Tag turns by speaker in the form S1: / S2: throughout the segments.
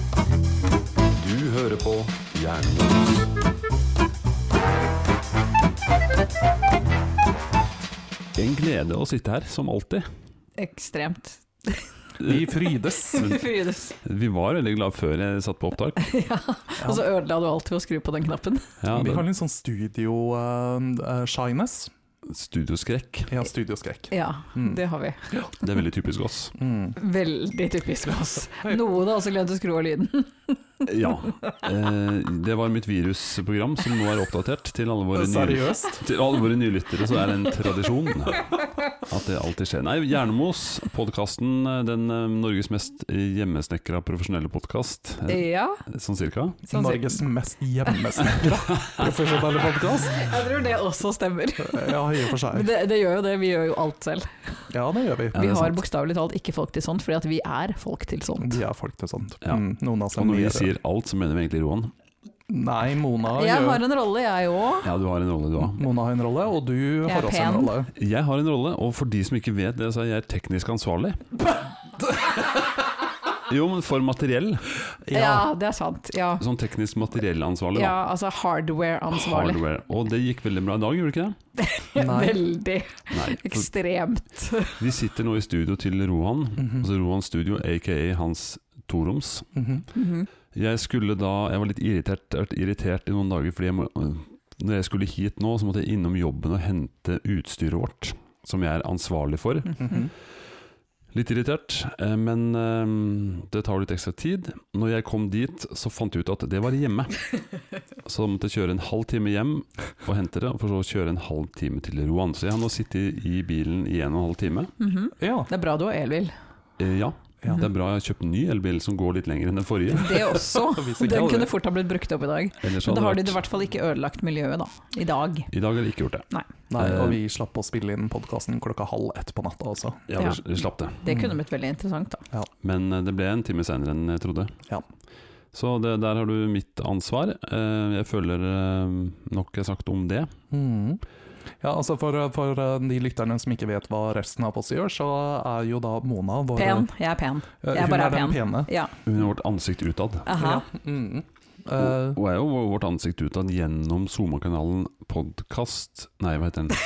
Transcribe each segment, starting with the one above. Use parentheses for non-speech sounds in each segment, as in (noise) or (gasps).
S1: Du hører på Jernbanen.
S2: En glede å sitte her, som alltid.
S3: Ekstremt.
S2: Vi (laughs) frydes.
S3: Frydes.
S2: Vi var veldig glad før jeg satt på opptak.
S3: ja. Og så ødela du alt ved å skru på den knappen.
S2: Ja,
S4: Vi
S2: det,
S4: har litt sånn eh, studio-shyness.
S2: studioskrekk.
S4: ja, studioskrekk.
S3: Ja,
S4: Mm.
S3: det har vi.
S2: Det er veldig typisk oss.
S4: Mm.
S3: Veldig typisk oss. Noen har også glemt å skru av lyden.
S2: Ja. Eh, det var mitt virusprogram som nå er oppdatert til alle våre nye
S4: Seriøst?
S2: Til alle våre nye lyttere så er det en tradisjon at det alltid skjer. Nei, Jernemos, podkasten, den eh, Norges mest hjemmesnekra profesjonelle podkast,
S3: (laughs) Ja,
S2: sånn cirka.
S3: sånn sikkert.
S4: Norges mest
S2: (laughs)
S4: hjemmesnekra profesjonelle podkast?
S3: Jeg tror det også stemmer.
S4: Ja, i og for
S3: Men
S4: seg.
S3: det, det gjør jo det, vi gjør jo alt selv.
S4: Ja, det gjør
S2: Ja,
S4: vi.
S3: Vi
S2: det er
S3: har
S2: sant.
S3: bokstavelig talt ikke folk til sånt, fordi at vi er folk til sånt.
S4: De er folk til sånt.
S2: Ja.
S4: Mm, noen av oss
S2: Og
S4: er
S2: når vi
S4: mer-
S2: sier alt, så mener vi egentlig Roan.
S4: Nei, Mona
S3: Jeg har
S4: gjør
S3: en rolle, jeg òg.
S2: Ja, du har en rolle, du òg.
S4: Mona har en rolle, og du
S3: Jeg
S4: har
S3: er
S4: også en
S3: pen. (laughs)
S4: rolle.
S2: Jeg har en rolle, og for de som ikke vet det, så er jeg teknisk ansvarlig. Jo, men for materiell.
S3: Ja, det er sant. Ja,
S2: Sånn teknisk materiellansvarlig,
S3: ja
S2: da.
S3: altså hardware-ansvarlig.
S2: Hardware. Og det gikk veldig bra i dag, gjorde det ikke det?
S4: Nei.
S3: (laughs) Veldig
S2: Nei. For
S3: ekstremt.
S2: vi sitter nå i studio til Rohan,
S4: Mhm.
S2: altså Rohan Studio, aka hans toroms.
S4: Mhm.
S3: Mhm.
S2: Jeg skulle da Jeg var litt irritert, jeg har vært irritert i noen dager fordi jeg må, når jeg skulle hit nå, så måtte jeg innom jobben og hente utstyret vårt, som jeg er ansvarlig for.
S4: Mhm.
S2: Litt irritert, eh, men eh, det tar litt ekstra tid. Når jeg kom dit, så fant jeg ut at det var
S3: (laughs)
S2: hjemme. Så da måtte jeg kjøre en halv time hjem og hente det, for så å kjøre en halv time til Roan. Så jeg har nå sittet i bilen i en og en halv time.
S3: Mhm.
S4: Ja.
S3: Det er bra du har elbil.
S2: Eh, Ja,
S4: Ja.
S2: det er bra jeg har kjøpt en ny elbil som går litt lenger enn den forrige.
S3: (laughs) Det også.
S4: Hvis ikke
S3: Den
S4: alle-
S3: kunne fort ha blitt brukt opp i dag.
S2: Ellers
S3: Men da har
S2: hadde
S3: de
S2: det
S3: i
S2: vært
S3: hvert fall ikke ødelagt miljøet, da. I dag.
S2: I dag har de ikke gjort det.
S4: Nei,
S2: Eh.
S4: og vi slapp å spille inn podkasten klokka halv ett på natta også.
S2: Ja,
S3: Ja.
S2: vi slapp det.
S3: Det
S4: Mm.
S3: kunne blitt veldig interessant, da.
S2: Men eh, det ble en time senere enn jeg trodde.
S4: Ja.
S2: Så det, der har du mitt ansvar. Eh, Jeg føler eh, nok jeg har sagt om det.
S4: Mhm. Ja, altså for, for de lytterne som ikke vet hva resten av oss gjør, så er jo da Mona vår
S3: Pen. Jeg er pen.
S4: Eh,
S3: Jeg
S4: hun
S3: bare
S4: er,
S3: er
S4: den pene.
S3: Ja.
S2: Hun er vårt ansikt utad.
S3: Aha.
S4: Ja. Mhm. Eh,
S2: Hun hun er jo vår- vårt ansikt utad gjennom Soma-kanalen podkast Nei, hva
S3: (laughs)
S2: heter den?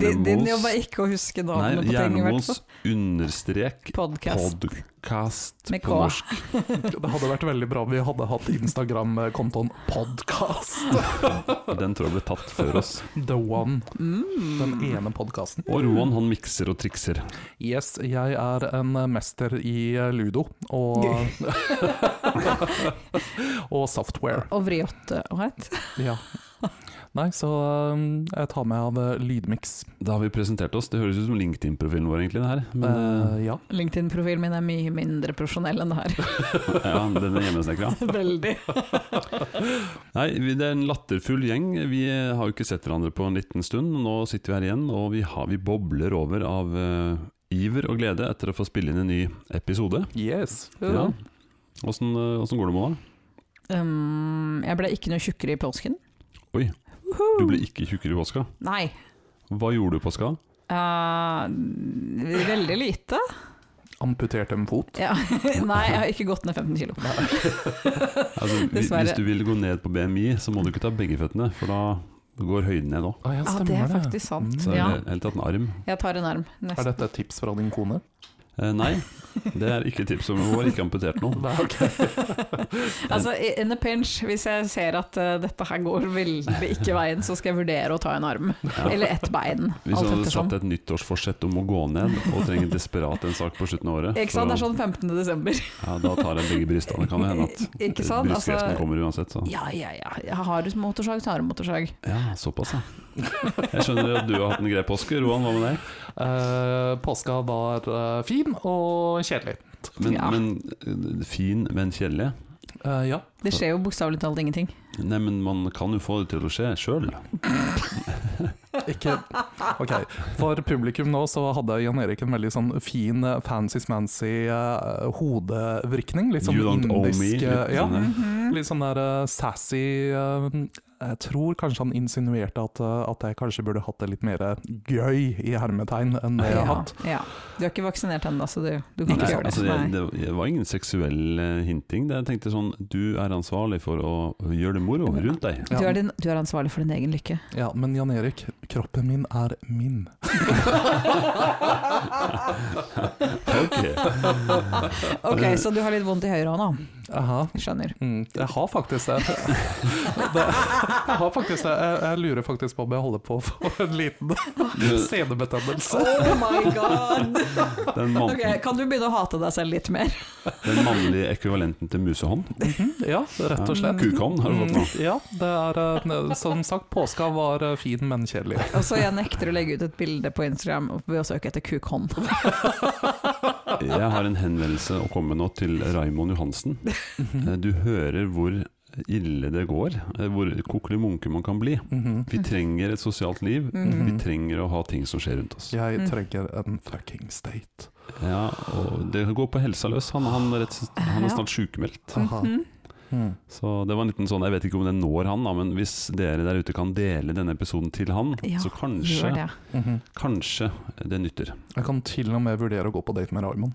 S3: Din, din jobb er
S2: Hjernemos
S3: ikke å huske
S2: Nei,
S3: navnet på ting, i hvert fall.
S2: Hjernemos understrek
S3: Podcast.
S2: podkast
S3: Med K.
S2: på norsk.
S4: det hadde vært veldig bra om vi hadde hatt Instagram-kontoen (laughs) Podcast.
S2: Den tror jeg ble tatt før oss.
S4: The One.
S3: Mm.
S4: Den ene podkasten.
S2: Og Roan han mikser og trikser.
S4: Yes, jeg er en mester i ludo og (laughs) Og software.
S3: Og eh, vriåtte og hett.
S4: Ja. Nei, så um, jeg tar med av eh, lydmiks.
S2: Da har vi presentert oss. Det høres ut som LinkedIn-profilen vår, egentlig. det her
S3: Mm.
S2: Men,
S4: Eh, ja.
S3: LinkedIn-profilen min er mye mindre profesjonell enn det her. (laughs)
S2: eh, ja, den er hjemmesnekra.
S3: Veldig.
S2: Nei, vi- det er en latterfull gjeng. Vi eh, har jo ikke sett hverandre på en liten stund. Nå sitter vi her igjen, og vi, har, vi bobler over av eh, iver og glede etter å få spille inn en ny episode.
S4: Yes.
S3: Uh.
S2: Ja. Åssen eh, åssen går det med deg?
S3: Um, jeg ble ikke noe tjukkere i påsken.
S2: Oi.
S3: Woohoo!
S2: Du ble ikke tjukkere i påska.
S3: Nei.
S2: Hva gjorde du i påska?
S3: Eh, veldig lite.
S4: Amputert en fot.
S3: Ja. (laughs) Nei, jeg har ikke gått ned 15 kilo.
S2: Altså, hvi-
S3: Dessverre.
S2: hvis du vil gå ned på BMI, så må du ikke ta begge føttene, for da går høyden ned òg.
S4: Ah, ja, Mm.
S3: Ja, det er faktisk sant.
S2: Så er det
S3: Ja.
S2: helt tatt en arm.
S3: Jeg tar en arm.
S4: Er
S3: Nesten.
S4: dette et tips fra din kone?
S2: Eh, nei, det er ikke tips om Hun har ikke amputert noe.
S4: (laughs) Nei, ok.
S3: Altså, i- in a pinch, hvis jeg ser at eh, dette her går veldig ikke veien, så skal jeg vurdere å ta en arm.
S2: Ja.
S3: Eller ett bein.
S2: Hvis
S3: Alt
S2: hun hadde
S3: ettersom.
S2: satt et nyttårsforsett om å gå ned, og trenger desperat en sak på slutten av året
S3: Ikke
S2: for
S3: sant,
S2: å-
S3: det er sånn 15. desember.
S2: Ja, da tar jeg begge brystene. (laughs) Kan det hende at
S3: (laughs) Ikke sant?
S2: brystkreften
S3: Altså-
S2: kommer uansett. Så.
S3: Ja, ja, ja. Jeg har et motorsag, så har jeg motorsag.
S2: Ja, såpass, ja. (laughs) Jeg skjønner at du har hatt en grei påske. Roan, hva med deg?
S4: Eh, påska var eh, fin og kjedelig.
S2: Men,
S3: Ja.
S2: men eh, fin, men kjedelig?
S4: Eh, ja.
S3: Det skjer jo bokstavelig talt ingenting.
S2: Nei, men man kan jo få det til å skje sjøl.
S4: Ikke Ok. For publikum nå så hadde Jan Erik en veldig sånn fin eh, fancy-smancy eh, hodevrikning. Litt sånn
S2: You don't owe me. sånn
S3: Mm.
S4: indisk eh,
S2: litt
S4: ja.
S2: sånn,
S4: Litt sånn der eh, sassy eh, jeg tror kanskje han insinuerte at, eh, at jeg kanskje burde hatt det litt mer eh, gøy i hermetegn enn det jeg har
S3: Ja,
S4: hatt.
S3: ja. Du er ikke vaksinert ennå, så du, du kan
S2: Nei,
S3: ikke gjøre
S2: altså,
S3: det.
S2: jeg,
S3: Nei.
S2: det det var ingen seksuell eh, hinting. Det- Jeg tenkte sånn Du er ansvarlig for å gjøre det moro rundt deg.
S4: Ja.
S3: Du, er din, du er ansvarlig for din egen lykke.
S4: Ja, men Jan Erik, kroppen min er min.
S2: Ok.
S3: Ok, Så du har litt vondt i høyrehånda?
S4: Aha.
S2: (laughs)
S3: Skjønner.
S4: Mm, jeg har faktisk det. (laughs) det jeg har faktisk det. Jeg, jeg lurer faktisk på om jeg holder på å få en liten
S3: (laughs)
S4: senebetennelse.
S3: Oh my god!
S2: Den, mann,
S3: (laughs) Ok, Kan du begynne å hate deg selv litt mer?
S2: den mannlige ekvivalenten til musehånd.
S4: Ja, rett og slett.
S2: Kukhånd har du fått nå.
S4: Mm, Ja, det er eh, som sagt, påska var eh, fin, men kjedelig.
S3: Og så jeg nekter å legge ut et bilde på Instagram ved å søke etter kukhånd.
S2: Jeg har en henvendelse å komme med nå til Raimond Johansen. Eh, Du hører hvor ille det går, eh, hvor kokkelimunke man kan bli.
S4: Mhm.
S2: (laughs) Vi trenger et sosialt liv.
S3: Mhm.
S2: Vi trenger å ha ting som skjer rundt oss.
S4: Jeg
S3: Mm.
S4: trenger en fucking state.
S2: Ja, og det går på helsa løs. Han, han, er, rett,
S3: Eh,
S2: han er snart sykemeldt.
S4: Aha.
S3: Mhm.
S4: Mm.
S2: Så det var en liten sånn, jeg vet ikke om den når han, da, men hvis dere der ute kan dele denne episoden til han,
S3: Ja,
S2: så
S3: Gjør
S2: kanskje,
S3: det.
S4: Mhm.
S2: kanskje det nytter.
S4: Jeg kan til og med vurdere å gå på date med Raymond.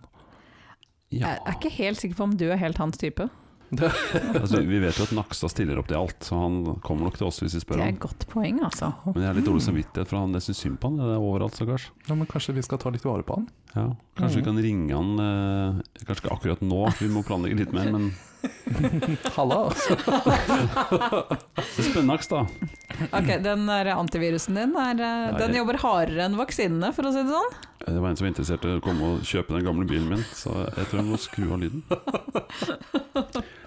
S2: Ja.
S3: Jeg er ikke helt sikker på om du er helt hans type.
S2: Altså, vi vet jo at Nakstad stiller opp til alt, så han kommer nok til oss hvis vi
S3: Det
S2: spør
S3: er
S2: ham.
S3: et godt poeng, altså.
S2: Men jeg har litt dårlig samvittighet, for han, jeg syns synd på han. Det er overalt, stakkars.
S4: Ja, men kanskje vi skal ta litt vare på han? (laughs)
S2: Ja. Kanskje vi
S4: Mhm.
S2: kan ringe han eh, Kanskje ikke akkurat nå, vi må planlegge litt mer, men
S4: Halla! altså.
S2: det er spennende, Nakstad.
S3: Ok, Den der antivirusen din er, eh,
S2: Nei.
S3: den jobber hardere enn vaksinene, for å si det sånn.
S2: Eh, Det var en som var interessert i å komme og kjøpe den gamle bilen min, så jeg tror jeg må skru av lyden.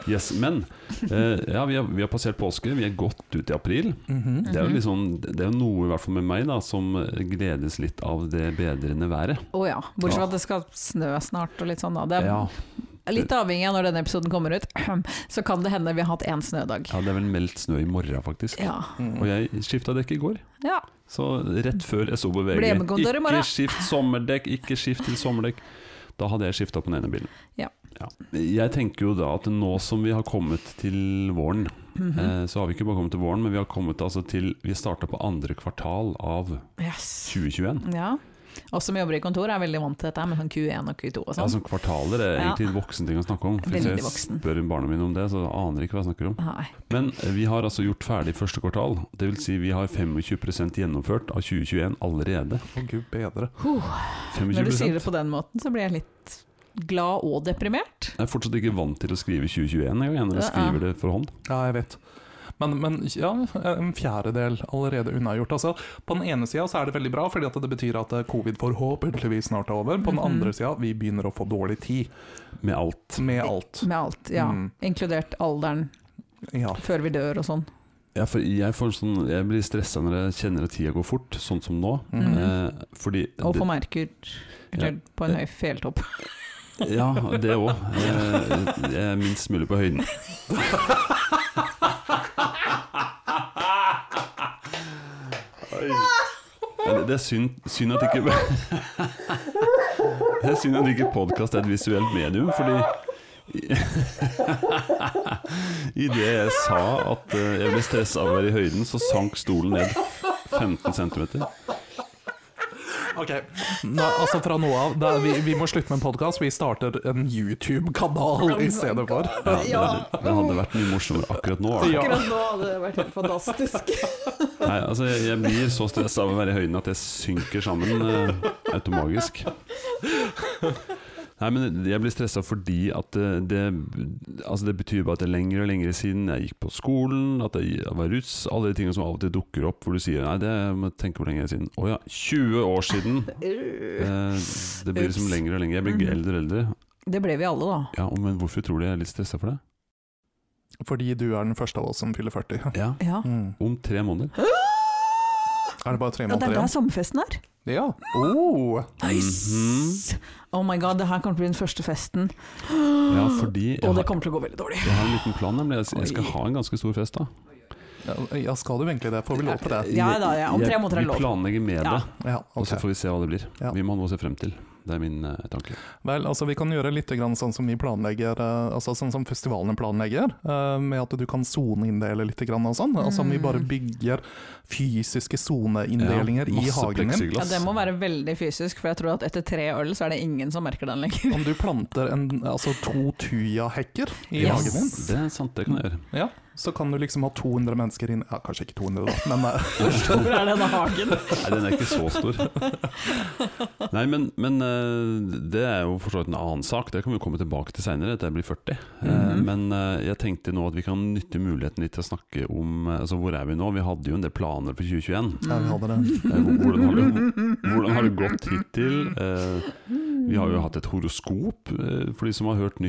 S2: Yes, Men eh, ja, vi har, vi har passert påske, vi er godt ute i april.
S4: Mhm.
S2: Det er jo liksom, det er jo noe i hvert fall med meg da, som eh, gledes litt av det bedrende været.
S3: Å ja. Bortsett fra at det skal snø snart og litt sånn, da. Det er
S2: Ja,
S3: litt avhengig av når denne episoden kommer ut, (clears throat) så kan det hende vi har hatt én snødag.
S2: ja, det er vel meldt snø i morgen, faktisk.
S3: Ja.
S4: Mm.
S2: Og jeg skifta dekk i går.
S3: ja.
S2: Så rett før jeg så på VG
S3: Ble med kontoret i morgen.
S2: Ikke skift sommerdekk, ikke skift til sommerdekk. Da hadde jeg skifta på den ene bilen.
S3: Ja.
S2: Jeg tenker jo da at nå som vi har kommet til våren,
S3: Mhm.
S2: eh, så har vi ikke bare kommet til våren, men vi har kommet altså til Vi starta på andre kvartal av
S3: Yes.
S2: 2021.
S3: Ja. Oss som jobber i kontor er veldig vant til dette her med sånn Q1 og Q2 og
S2: Ja,
S3: sånn.
S2: som Altså, kvartaler er
S3: Ja.
S2: egentlig en voksen ting å snakke om. Hvis
S3: Veldig
S2: jeg
S3: voksen.
S2: spør barna mine om det, så aner de ikke hva jeg snakker om.
S3: Nei.
S2: Men vi har altså gjort ferdig første kvartal. Dvs. Si vi har 25 gjennomført av 2021 allerede.
S4: Å gud bedre.
S3: Huh.
S2: 25
S3: Når du sier det på den måten, så blir jeg litt glad og deprimert.
S2: Jeg er fortsatt ikke vant til å skrive 2021 engang, jeg, når jeg
S3: Ja.
S2: skriver det for hånd.
S4: Ja, jeg vet. Men, men ja, en fjerdedel allerede unnagjort. Altså, på den ene sida er det veldig bra, fordi at det betyr at eh, covid forhåpentligvis snart er over. På den
S3: Mhm.
S4: andre sida vi begynner å få dårlig tid
S2: Med alt.
S4: med alt.
S3: Med alt, ja.
S4: Mm.
S3: Inkludert alderen
S4: Ja.
S3: før vi dør og sånn.
S2: Ja, for jeg, får sånn, jeg blir stressa når jeg kjenner at tida går fort, sånn som nå.
S3: Mm.
S4: Mhm.
S2: Eh, fordi
S3: Og
S2: det-
S3: på Merkur. Eller på en høy fjelltopp.
S2: Ja, det òg. Eh, jeg er minst mulig på høyden. Ja, det- Det er synd, synd at ikke Det er synd at ikke podkast er et visuelt medium, fordi Idet jeg sa at eh, jeg ble stressa av å være i høyden, så sank stolen ned 15 cm.
S4: Ok, Nei, altså fra nå av det er, vi, vi må slutte med en podkast, vi starter en YouTube-kanal i stedet for.
S2: Ja, det, det hadde vært mye morsommere akkurat nå. altså.
S4: Ja. Akkurat
S3: nå hadde det vært helt (laughs) fantastisk.
S2: Nei, altså jeg, jeg blir så stressa av å være i høyden at jeg synker sammen eh, automagisk. Nei, men jeg blir stressa fordi at eh, det, altså det betyr bare at det er lengre og lengre siden jeg gikk på skolen, at jeg var russ, alle de tingene som av og til dukker opp hvor du sier nei, det må jeg tenke hvor lenge er siden. Å ja, 20 år siden! Eh, det blir liksom
S3: Ups.
S2: lengre og lengre. Jeg blir
S3: Mhm.
S2: eldre og eldre.
S3: Det ble vi alle, da.
S2: Ja, og men hvorfor tror du jeg er litt stressa for det?
S4: Fordi du er den første av oss som fyller 40.
S2: Ja,
S3: Ja.
S4: Mm.
S2: om tre måneder.
S3: (gasps)
S4: Er det bare tre
S3: Ja, det
S4: måneder
S3: er der
S4: igjen?
S3: sommerfesten er.
S4: Ja. Oh.
S2: Mhm.
S3: Nice! Oh my god, det her kommer til å bli den første festen.
S2: Ja, fordi jeg
S3: Og det
S2: har,
S3: kommer til å gå veldig dårlig.
S2: jeg har en liten plan, nemlig. Jeg, jeg skal ha en ganske stor fest da.
S4: Ja, Ja, skal du egentlig det? Får vi lov på det?
S3: Ja da, ja. Om tre måneder er
S2: Vi
S3: lov.
S2: planlegger med
S3: Ja.
S2: det,
S4: Ja,
S2: og så
S4: ok.
S2: får vi se hva det blir.
S4: Ja.
S2: Vi må ha noe å se frem til. Det er min eh, tanke.
S4: Vel, altså Vi kan gjøre litt grann sånn som vi planlegger, eh, altså sånn som festivalene planlegger, eh, med at du kan soneinndele litt grann og sånn. Altså om vi bare
S3: Mm.
S4: bygger fysiske soneinndelinger i
S2: masse
S4: hagen din.
S3: Ja,
S2: plexiglass.
S3: det må være veldig fysisk, for jeg tror at etter tre øl så er det ingen som merker den lenger. (laughs)
S4: Om du planter en, altså to tujahekker i
S3: Yes.
S4: hagen din,
S2: Det er sant, det kan jeg gjøre.
S4: ja, så kan du liksom ha 200 mennesker inn Ja, kanskje ikke 200, da, men
S3: (laughs)
S4: eh,
S3: Hvor er denne hagen?
S2: Nei, den er ikke så stor.
S3: (laughs)
S2: Nei, men, men eh, det er jo for så vidt en annen sak. Det kan vi jo komme tilbake til seinere, etter jeg blir 40. Eh,
S3: Mhm.
S2: Men eh, jeg tenkte nå at vi kan nytte muligheten litt til å snakke om eh, Altså, hvor er vi nå? Vi hadde jo en del planer for 2021.
S4: ja, vi hadde det.
S2: Eh, hvor- Hvordan har det, hvordan har det gått hittil? Eh, Vi har jo hatt et horoskop. eh, For de som har hørt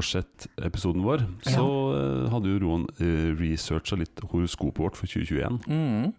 S2: nyttårsforsett-episoden vår, så eh, hadde jo Roan researcha litt horoskopet vårt for 2021,
S4: Mm.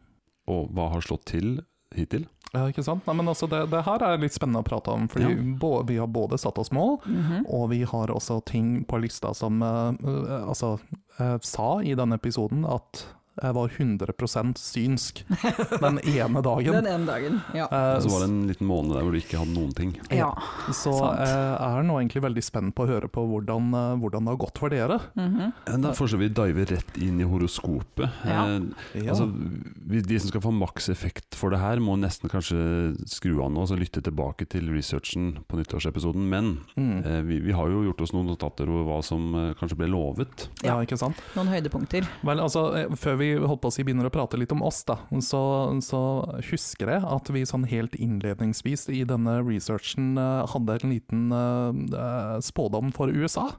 S2: og hva har slått til hittil?
S4: Ja, ikke sant? Nei, men altså det, det her er litt spennende å prate om, fordi bå- vi har både satt oss mål,
S2: Mhm.
S4: og vi har også ting på lista som eh, eh, altså, eh, sa i denne episoden at jeg var 100 synsk
S3: (laughs)
S4: den ene dagen.
S3: Den ene dagen, ja.
S4: Eh,
S2: Og så Altså, var det en liten måned der hvor du ikke hadde noen ting.
S3: ja.
S4: så
S3: sant.
S4: jeg er nå egentlig veldig spent på å høre på hvordan, eh, hvordan det har gått for dere.
S3: Mhm.
S2: Da foreslår vi å dive rett inn i horoskopet.
S3: Ja.
S2: Eh, Altså, vi- de som skal få makseffekt for det her, må nesten kanskje skru av nå og så lytte tilbake til researchen på nyttårsepisoden. Men
S4: mm.
S2: eh, vi, vi har jo gjort oss noen notater over hva som eh, kanskje ble lovet.
S4: ja, ikke sant?
S3: Noen høydepunkter.
S4: Vel, altså, eh, før vi holdt på å si begynner å prate litt om oss, da, så, så husker jeg at vi sånn helt innledningsvis i denne researchen eh, hadde en liten eh, eh, spådom for USA.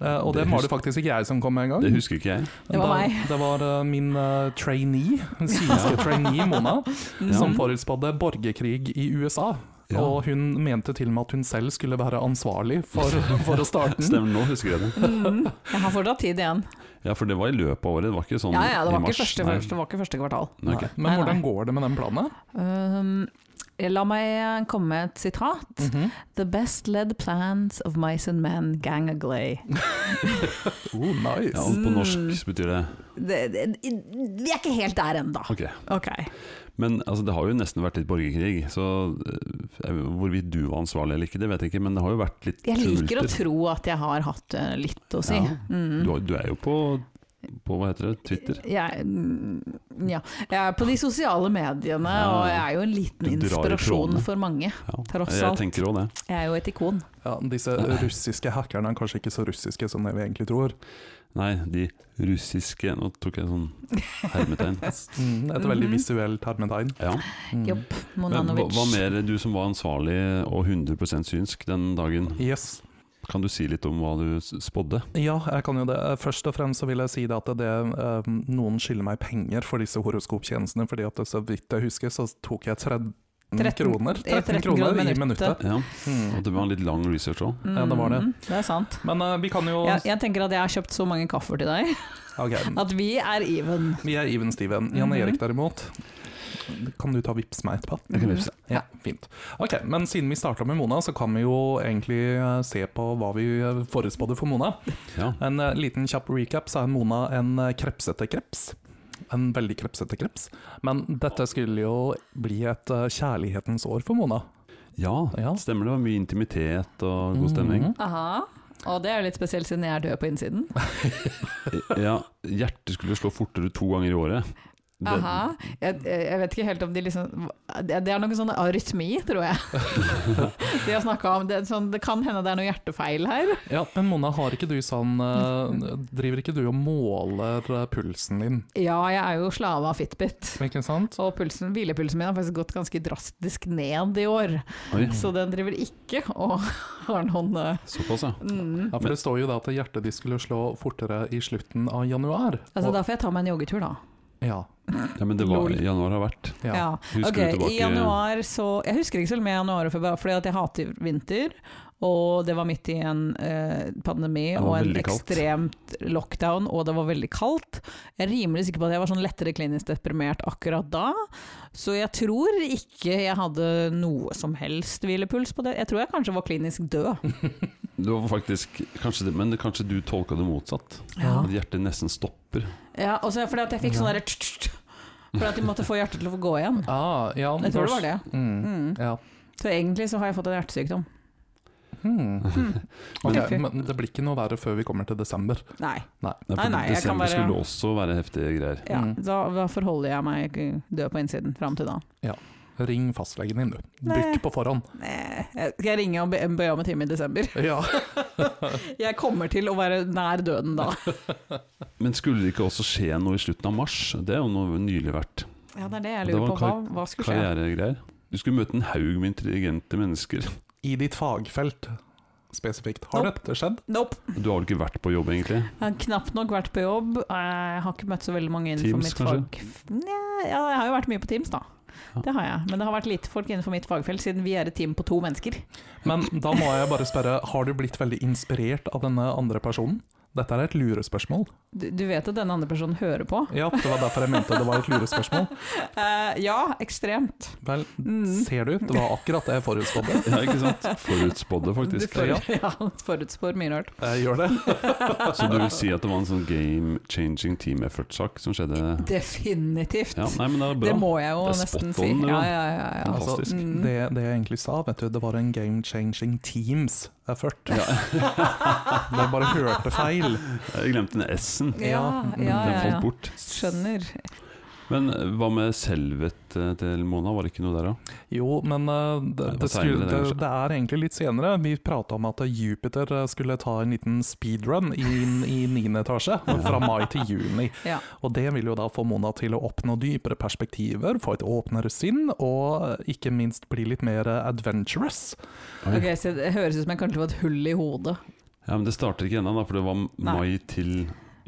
S4: Eh, og
S2: Det
S4: det, var det
S2: husker-
S4: faktisk ikke jeg som kom med en gang.
S2: Det husker ikke jeg.
S3: Det var
S4: Da-
S3: meg.
S4: Det var eh, min eh, trainee, den synske trainee Mona,
S3: sånn
S4: som forutspådde borgerkrig i USA.
S2: Ja.
S4: Og hun mente til og med at hun selv skulle være ansvarlig for, for å starte den.
S2: (laughs) Stemmer, nå husker jeg det.
S3: Mhm. Jeg har fortsatt tid igjen.
S2: Ja, for det var i løpet av året, det var ikke sånn
S3: Ja, ja, det
S2: i
S3: var ikke
S2: mars.
S3: første,
S2: Nei.
S3: første, det var ikke første kvartal.
S2: Nei, ok.
S4: Men
S3: Nei, nei.
S4: hvordan går det med den planen?
S3: Um, la meg komme med et sitat.
S2: Mm.
S4: Mhm.
S3: The best led plans of mice and men gang aglay.
S4: Oh, nice.
S2: Ja, og på norsk
S3: Mm.
S2: betyr det
S3: Det, det, vi er ikke helt der ennå.
S2: Ok.
S3: Ok.
S2: Men altså, det har jo nesten vært litt borgerkrig, så eh, jeg- hvorvidt du var ansvarlig eller ikke, det vet jeg ikke, men det har jo vært litt
S3: Jeg liker å
S2: tumulter.
S3: tro at jeg har hatt eh, litt å si.
S2: Ja.
S3: Mhm.
S2: Du, har- du er jo på, på hva heter det, Twitter?
S3: Jeg, mm, ja. jeg er på de sosiale mediene,
S2: Ja.
S3: og jeg er jo en liten
S2: Du drar i
S3: inspirasjon
S2: trådene.
S3: for mange.
S2: Ja.
S3: Tross
S2: Jeg
S3: alt.
S2: tenker òg det.
S3: Jeg er jo et ikon.
S4: Ja, disse russiske hackerne er kanskje ikke så russiske som det vi egentlig tror.
S2: Nei, de russiske Nå tok jeg
S3: (laughs)
S2: sånn hermetegn.
S4: Mm, et veldig
S3: Mhm.
S4: visuelt hermetegn.
S2: Ja.
S4: Mm.
S3: Jopp,
S2: Men, hva,
S3: Monanovic.
S2: hva mer du som var ansvarlig og 100 synsk den dagen?
S4: Yes.
S2: Kan du si litt om hva du s- spådde?
S4: Ja, jeg kan jo det. Først og fremst så vil jeg si det at det, eh, noen skylder meg penger for disse horoskoptjenestene, fordi at så vidt jeg husker så tok jeg 13,
S3: 13
S4: kroner,
S3: ja,
S4: 13 kroner i minuttet.
S2: Ja,
S4: Mm.
S2: at Det var en litt lang research òg.
S4: Ja, det var det.
S3: Mhm, det er sant.
S4: Men eh, vi kan jo
S3: Jeg, jeg tenker at jeg har kjøpt så mange kaffer til deg
S4: Ok,
S3: at vi er even.
S4: vi er even Steven. Jan
S3: Mhm.
S4: Erik derimot, kan du ta vips meg etterpå?
S2: (laughs) Jeg kan vipse.
S4: Ja, fint. Ok, Men siden vi starta med Mona, så kan vi jo egentlig eh, se på hva vi eh, forespådde for Mona.
S2: Ja.
S4: En eh, liten kjapp recap, så er Mona en eh, krepsete kreps. En veldig krepsete kreps. Men dette skulle jo bli et eh, kjærlighetens år for Mona.
S2: Mhm. ja,
S4: Ja.
S2: stemmer det. var Mye intimitet og god stemning.
S4: Mhm.
S3: Aha. Og det er jo litt spesielt siden jeg er død på (laughs) innsiden.
S2: Ja, Hjertet skulle slå fortere to ganger i året. Det,
S3: Aha. Jeg, jeg vet ikke helt om de liksom Det det er noe sånn arytmi, tror jeg. (laughs) De har snakket om det, er sånn, det kan hende det er noe hjertefeil her.
S4: Ja, men Mona, har ikke du sånn eh, Driver ikke du og måler eh, pulsen din,
S3: Ja, jeg er jo slave av Fitbit.
S4: ikke sant?
S3: Så pulsen, hvilepulsen min har faktisk gått ganske drastisk ned i år.
S2: Oi,
S3: Så den driver ikke og (laughs) har noen eh,
S2: såpass, ja.
S3: mm.
S4: Ja, for Det står jo da at hjertet ditt skulle slå fortere i slutten av januar.
S3: Altså,
S4: Og-
S3: da får jeg ta meg en joggetur, da.
S4: ja,
S2: ja. Men det var
S3: Lol.
S2: januar har vært.
S4: ja.
S3: Ja.
S2: Husker
S3: Ok,
S2: du tilbake
S3: I januar så Jeg husker ikke så mye januar og februar, fordi at jeg hater vinter. Og det var midt i en eh, pandemi
S2: Det var
S3: og en
S2: veldig kaldt.
S3: ekstremt lockdown, og det var veldig kaldt. Jeg er rimelig sikker på at jeg var sånn lettere klinisk deprimert akkurat da. Så jeg tror ikke jeg hadde noe som helst hvilepuls på det. Jeg tror jeg kanskje var klinisk (laughs) død.
S2: Det var faktisk, kanskje det, Men kanskje du tolka det motsatt?
S3: Ja.
S2: At hjertet nesten stopper?
S3: Ja, og så er det fordi at jeg fikk sånn derre (laughs) tsk, tsk, tsk, Fordi at de måtte få hjertet til å få gå igjen.
S4: Ah, ja
S3: Jeg tror det var det.
S4: Mm.
S3: Mm.
S4: Ja.
S3: Så egentlig så har jeg fått en hjertesykdom.
S4: Hmm.
S3: Hmm. (laughs)
S4: Ok,
S3: Tøffer.
S4: men det blir ikke noe verre før vi kommer til desember.
S3: Nei.
S2: Nei, for
S3: Nei, nei, jeg kan
S2: desember
S3: bare-
S2: skulle også være heftige greier.
S3: Ja,
S4: Mm.
S3: da, da forholder jeg meg død på innsiden fram til da.
S4: Ring fastlegen din, du.
S3: Nei.
S4: Bukk på forhånd.
S3: Nei, jeg skal ringe og be, be om en time i desember.
S4: Ja.
S3: Jeg kommer til å være nær døden da.
S2: Men skulle det ikke også skje noe i slutten av mars? Det er jo noe nylig vært.
S3: (laughs) Ja, det er det jeg
S2: Det
S3: lurer
S2: var
S3: på. Hva, hva skulle skje?
S2: Karrieregreier. Du skulle møte en haug med intelligente mennesker.
S4: I ditt fagfelt spesifikt. Har
S3: Nope.
S4: dette skjedd?
S3: Nope.
S2: Du har vel ikke vært på jobb, egentlig?
S3: Jeg har knapt nok vært på jobb. Jeg har ikke møtt så veldig mange innenfor
S2: Teams,
S3: mitt fag. Nja, ja, jeg har jo vært mye på Teams, da.
S2: Ja.
S3: Det har jeg. Men det har vært lite folk innenfor mitt fagfelt, siden vi er et team på to mennesker.
S4: Men da må jeg bare spørre, har du blitt veldig inspirert av denne andre personen? Dette er et lurespørsmål.
S3: Du, du vet at denne andre personen hører på?
S4: Ja, det var derfor jeg mente det var et lurespørsmål.
S3: Eh, ja, ekstremt.
S4: Vel,
S3: Mm.
S4: ser du, det var akkurat det jeg forutspådde.
S2: Ja, ikke sant? Forutspådde,
S3: Du
S2: faktisk.
S3: får, (laughs) ja, du forutspår mye rart.
S4: Jeg gjør det.
S2: Så du vil si at det var en sånn game changing team effort-sak som skjedde?
S3: Definitivt.
S2: Ja, nei, men det er bra.
S3: det må jeg jo
S2: Det er
S3: nesten
S2: spot
S3: si.
S2: on, det,
S3: Ja,
S2: da.
S3: ja, ja, ja.
S4: Altså,
S2: Fantastisk.
S3: Mm.
S4: det, det jeg egentlig sa, vet du, det var en game changing teams effort. det bare hørte feil.
S2: Jeg glemte den S-en.
S3: Ja, ja,
S4: Mm,
S3: ja,
S2: Den
S3: ja,
S2: falt bort.
S3: Skjønner.
S2: Men eh, hva med selvet eh, til Mona, var det ikke noe der òg?
S4: Jo, men eh, det,
S2: Det var
S4: det, skulle,
S2: seinere, det,
S4: det,
S2: kanskje.
S4: det er egentlig litt senere. Vi prata om at Jupiter eh, skulle ta en liten speedrun inn i niende etasje, (laughs) fra mai til juni.
S3: Ja.
S4: Og det vil jo da få Mona til å oppnå dypere perspektiver, få et åpnere sinn, og eh, ikke minst bli litt mer eh, adventurous.
S3: Ok, så Det høres ut som jeg kanskje var et hull i hodet.
S2: Ja, men det starter ikke ennå, da, for det var mai til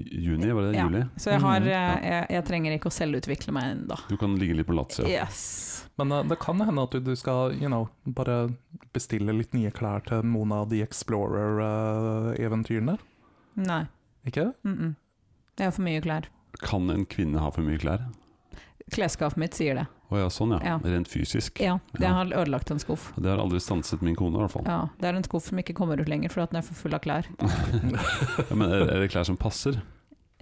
S2: juni, var det
S3: Ja.
S2: juli?
S3: Så jeg, har,
S4: Mm,
S2: ja.
S3: eh, jeg, jeg trenger ikke å selvutvikle meg ennå.
S2: Du kan ligge litt på Lazio.
S3: Yes.
S4: Men eh, det kan hende at du, du skal you know, bare bestille litt nye klær til Mona the Explorer-eventyrene.
S3: Nei.
S4: Ikke?
S3: Mm -mm. Jeg har for mye klær.
S2: Kan en kvinne ha for mye klær?
S3: Klesskapet mitt sier det.
S2: Å ja, sånn ja.
S3: Ja.
S2: Rent fysisk.
S3: Ja, det
S2: Ja.
S3: har ødelagt en skuff.
S2: Det har aldri stanset min kone, i hvert fall.
S3: Ja, det er en skuff som ikke kommer ut lenger fordi at den er for full av klær.
S2: Ja, men er, er det klær som passer?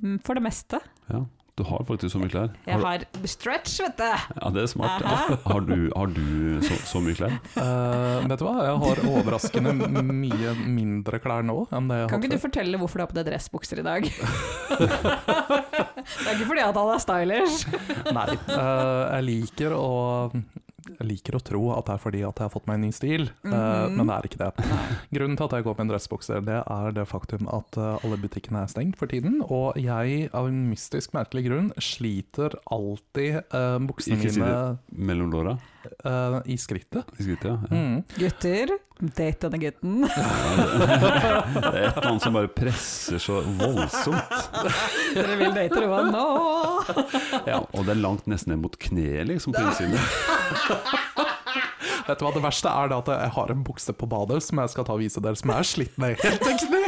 S3: Mm, For det meste.
S2: Ja. Du har faktisk så mye klær.
S3: Jeg
S2: Har, Eh,
S3: har stretch, vet du!
S2: ja, det er smart.
S3: Aha.
S2: Har du, har du så, så mye klær?
S4: Eh, vet du hva, jeg har overraskende mye mindre klær nå enn det jeg har
S3: Kan
S4: hatt
S3: ikke du fortelle hvorfor du har på deg dressbukser
S2: (laughs)
S3: i dag? (laughs) det er ikke fordi at han er stylish.
S4: Nei. eh, jeg, liker å, jeg liker å tro at det er fordi at jeg har fått meg en ny stil, eh,
S3: Mhm.
S4: men det er ikke det. Grunnen til at jeg går med en dressbukse, det er det faktum at eh, alle butikkene er stengt for tiden, og jeg av en mystisk merkelig grunn sliter alltid eh, buksene
S2: Ikke si
S4: mine
S2: Mellom låra?
S4: eh, i skrittet.
S2: I skrittet, ja. ja.
S4: Mm.
S3: Gutter, date denne gutten. (laughs)
S2: Det er et eller annet som bare presser så voldsomt.
S3: Dere vil date Roan nå!
S2: Ja, og det er langt nesten ned mot kneet, liksom, på innsiden.
S4: Vet du hva, det verste er det at jeg har en bukse på badet som jeg skal ta og vise dere, som er slitt ned helt til kne.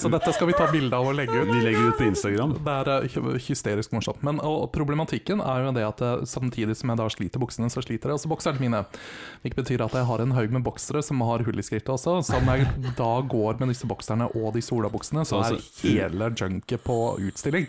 S4: Så dette skal vi ta bilde av og legge ut.
S2: Vi legger ut på Instagram.
S4: Det er eh, hy- hysterisk morsomt. Men og problematikken er jo det at eh, samtidig som jeg da sliter buksene, så sliter jeg også bokserne mine. Hvilket betyr at jeg har en haug med boksere som har hull i skrittet også. Så når jeg da går med disse bokserne og de solabuksene, så er
S2: Altså,
S4: hele junket på utstilling.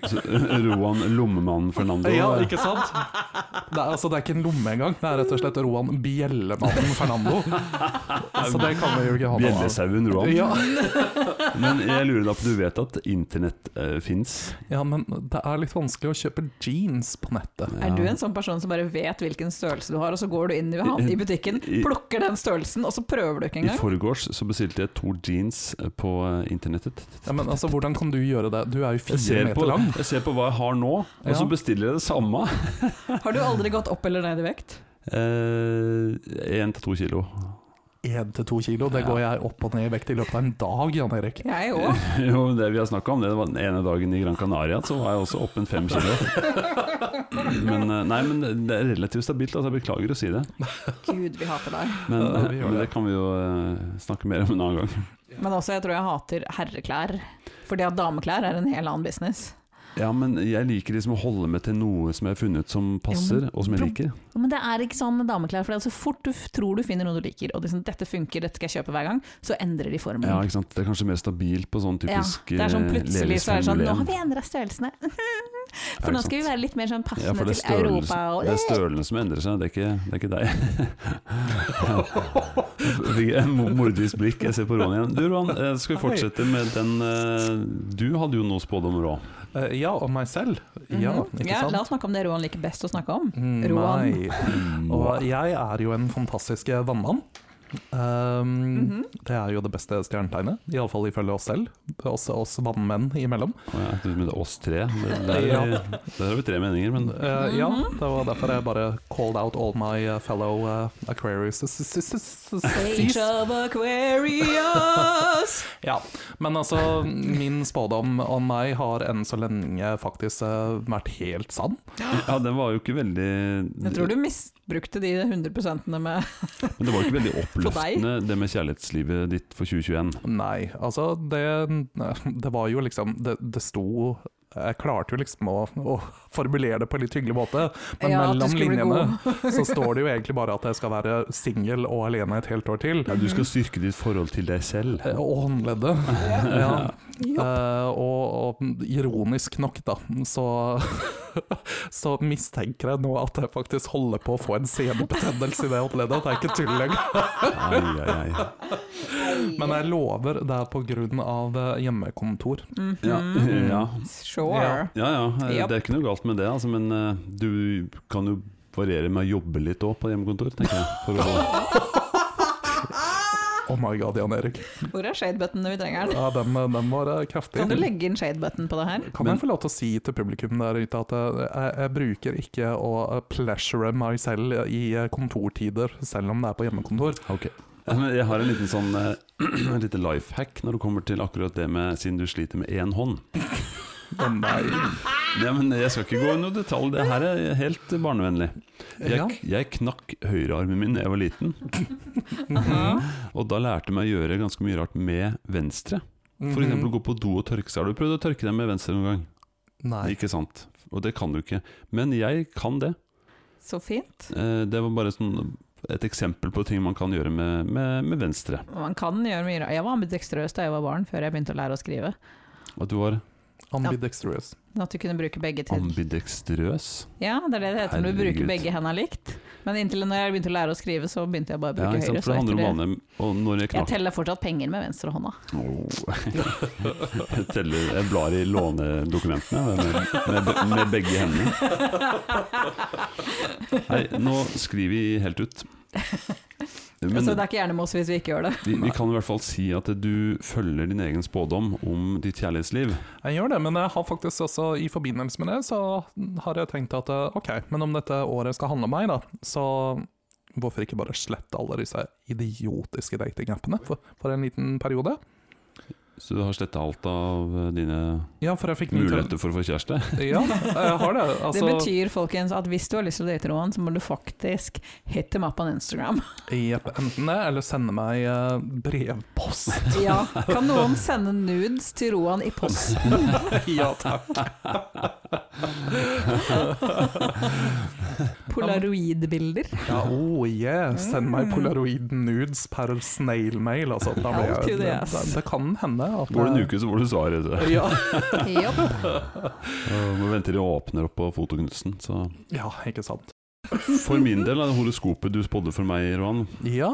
S2: Roan Lommemannen Fernando.
S4: Ja, ikke sant? Det er, altså, det er ikke en lomme engang. Det er rett og slett Roan Bjellemannen Fernando. Så altså, det kan vi jo ikke ha noe av.
S2: Bjellesauen Roan.
S4: Ja.
S2: Men jeg lurer da på, du vet at internett uh, fins?
S4: ja, men det er litt vanskelig å kjøpe jeans på nettet.
S3: Er du en sånn person som bare vet hvilken størrelse du har, og så går du inn i, han- i butikken,
S2: I-
S3: plukker den størrelsen, og så prøver du ikke
S2: I
S3: engang?
S2: forgårs så bestilte jeg to jeans eh, på eh, internettet.
S4: Ja, men altså, Hvordan kan du gjøre det? Du er jo
S2: Jeg
S4: fire
S2: ser, på,
S4: meter lang.
S2: jeg ser på hva jeg har nå, og så
S4: Ja.
S2: bestiller jeg det samme.
S3: Har du aldri gått opp eller ned i vekt?
S2: Én Eh, til to kilo.
S4: Én til to kilo, det
S2: Ja.
S4: går jeg opp og ned i vekt i løpet av en dag, Jan Erik.
S3: Jeg òg.
S2: (laughs) Jo, men det vi har snakka om, det var den ene dagen i Gran Canaria, så var jeg også oppe en fem (laughs) kilo. Men, eh, nei, men det er relativt stabilt, altså jeg beklager å si det.
S3: Gud, vi hater deg.
S2: Men,
S4: Ja, vi gjør
S2: men det
S4: det.
S2: kan vi jo eh, snakke mer om en annen gang.
S3: Men også, jeg tror jeg hater herreklær. For det at dameklær er en helt annen business.
S2: Ja, men jeg liker liksom å holde meg til noe som jeg har funnet som passer, og som jeg liker.
S3: Ja, Men det er ikke sånn med dameklær. For det er så fort du f- tror du finner noe du liker, og det er sånn, dette funker, dette skal jeg kjøpe hver gang, så endrer de formen.
S2: Ja, ikke sant? Det er kanskje mer stabilt på sånn typisk
S3: Ja, det er sånn plutselig så er det sånn Nå har vi endra størrelsene. For nå skal vi være litt mer sånn
S2: ja,
S3: passende
S2: for det er,
S3: til Europa.
S2: størrelsen,
S3: Og
S2: det er størrelsen som endrer seg, det er ikke, det er ikke deg. (laughs) Fikk en mo- Mordisk blikk, jeg ser på Ron igjen. Du Ron, eh, skal vi fortsette med den eh, Du hadde jo noe spådommer òg.
S4: Eh, ja, og meg selv. Ja,
S3: Mhm.
S4: ikke
S3: ja,
S4: sant?
S3: La oss snakke om det Roan liker best å snakke om.
S4: Mm,
S3: Roan.
S2: (laughs)
S4: Nei.
S3: Mm.
S4: Og jeg er jo en fantastisk vannmann. Um, Det er jo det beste stjernetegnet, iallfall ifølge oss selv. Oss, oss vannmenn imellom.
S2: Men det er oss tre. Det, der,
S4: Ja.
S2: der har vi tre meninger, men
S4: Eh, Ja,
S3: Mhm.
S4: det var derfor jeg bare called out all my eh, fellow eh, Aquarius. s- s- s- s- s-
S3: Age of Aquarius!
S4: Ja, men altså, min spådom om meg har enn så lenge faktisk eh, vært helt sann.
S2: Ja, den var jo ikke veldig
S3: Jeg tror du misbrukte de 100
S2: Men
S3: med
S2: det var jo ikke veldig
S3: For deg?
S2: oppløftende, det med kjærlighetslivet ditt for 2021.
S4: Nei, altså det, det var jo liksom Det, det sto jeg klarte jo liksom å, å formulere det på en litt hyggelig måte, men
S3: Ja, at du
S4: mellom
S3: skulle bli
S4: linjene så står det jo egentlig bare at jeg skal være singel og alene et helt år til.
S2: Ja, du
S3: Mm.
S2: skal styrke ditt forhold til deg selv.
S3: (laughs)
S4: Eh, Og håndleddet. (laughs) Ja. Eh, og, og ironisk nok, da, så, (laughs) så mistenker jeg nå at jeg faktisk holder på å få en senebetennelse i det håndleddet. Det er ikke tull engang.
S2: Ai, ai, ai.
S4: Men jeg lover, det er på grunn av eh, hjemmekontor.
S2: Ja,
S3: Mm.
S2: ja.
S3: Sure.
S2: ja, ja. eh,
S3: Japp.
S2: Det er ikke noe galt med det, altså, men eh, du kan jo variere med å jobbe litt òg på hjemmekontor, tenker jeg. For
S4: (laughs)
S2: å,
S4: Oh my god, Jan Erik.
S3: Hvor er shadebutton når vi trenger den?
S4: Ja, den, den var eh, kraftig.
S3: Kan du legge inn shadebutton på det her?
S4: Kan jeg få lov til å si til publikum der ute at eh, jeg, jeg bruker ikke å eh, pleasure meg selv i eh, kontortider, selv om det er på hjemmekontor.
S2: ok. Ja, men jeg har en liten sånn eh, (clears throat) en liten life hack når det kommer til akkurat det med siden du sliter med én hånd.
S4: Å nei.
S2: Ja, men jeg skal ikke gå i noe detalj, det her er helt barnevennlig.
S4: Ja.
S2: Jeg, jeg knakk høyrearmen min da jeg var liten, Mhm. og da lærte jeg meg å gjøre ganske mye rart med venstre.
S4: Mhm.
S2: For eksempel gå på do og tørke seg. Har du prøvd å tørke deg med venstre noen gang?
S4: Nei.
S2: Ikke sant? Og det kan du ikke. Men jeg kan det.
S3: Så fint.
S2: Eh, Det var bare sånn et eksempel på ting man kan gjøre med, med, med venstre.
S3: Man kan gjøre mye rart. Jeg var ambidekstrøs da jeg var barn, før jeg begynte å lære å skrive.
S2: At du var
S4: Ambidextrous.
S3: Men At du kunne bruke begge til.
S2: ambidekstrøs.
S3: Ja, det er det det heter når du
S2: Herregud.
S3: bruker begge hendene likt. Men inntil når jeg begynte å lære å skrive, så begynte jeg bare å
S2: Ja,
S3: bruke
S2: ikke sant?
S3: høyre.
S2: For
S3: Så
S2: det handler om
S3: etter det
S2: vaner. Og når jeg
S3: jeg
S2: knakk
S3: teller fortsatt penger med venstrehånda.
S2: Åh. (laughs) Jeg teller Jeg blar i lånedokumentene med, med, med begge hendene. Nei, nå skriver vi helt
S3: (laughs)
S2: ut. Men-
S3: Så Altså, det er ikke gjerne med oss hvis vi ikke gjør det.
S2: Vi, vi kan i hvert fall si at du følger din egen spådom om ditt kjærlighetsliv.
S4: Jeg gjør det, men jeg har faktisk også i forbindelse med det, så har jeg tenkt at eh, ok, men om dette året skal handle om meg, da, så hvorfor ikke bare slette alle disse idiotiske datingappene for, for en liten periode?
S2: Så du har sletta alt av eh, dine
S4: Ja, for jeg fikk ny tele-
S2: muligheter for å få kjæreste?
S4: Ja, jeg har det.
S3: det
S4: Altså,
S3: betyr folkens at hvis du har lyst til å date Roan, så må du faktisk hit him up on Instagram.
S4: Jep, enten det, eller sende meg eh, brevpost.
S3: (laughs)
S2: (laughs)
S4: (laughs)
S3: Ja, Kan noen sende nudes til Roan i posten?
S4: ja, takk.
S3: Polaroidbilder?
S4: Ja, oh yeah, send meg polaroid nudes per snailmail. Altså, da blir
S3: Out to
S4: jeg,
S3: the
S4: det,
S3: ass.
S4: det, det kan hende at eh,
S2: Går det en uke, så får du svaret. Så.
S4: Ja,
S3: Jopp.
S4: (laughs)
S2: (laughs) Og Må vente til det åpner opp på Fotoknutsen. Så.
S4: ja, ikke sant.
S2: For min del er det horoskopet du spådde for meg, Roan.
S4: Ja.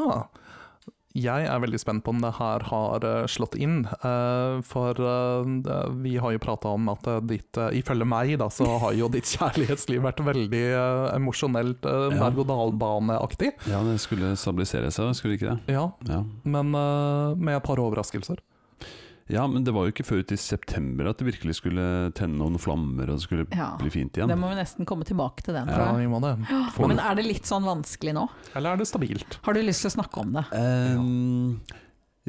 S4: Jeg er veldig spent på om det her har eh, slått inn, eh, for eh, det- vi har jo prata om at eh, ditt eh, Ifølge meg, da, så har jo ditt (laughs) kjærlighetsliv vært veldig eh, emosjonelt uh,
S2: Ja.
S4: berg-og-dal-bane-aktig.
S2: Ja, det skulle stabilisere seg, skulle det ikke det?
S4: Ja,
S2: Ja.
S4: men eh, med et par overraskelser.
S2: ja, men det var jo ikke før ut i september at det virkelig skulle tenne noen flammer, og det skulle
S3: Ja.
S2: bli fint igjen.
S3: Da må vi nesten komme tilbake til den.
S4: Ja,
S3: tror jeg.
S4: vi må det.
S2: Får
S3: Men
S2: du-
S3: er det litt sånn vanskelig nå?
S4: Eller er det stabilt?
S3: Har du lyst til å snakke om det?
S2: Ehm,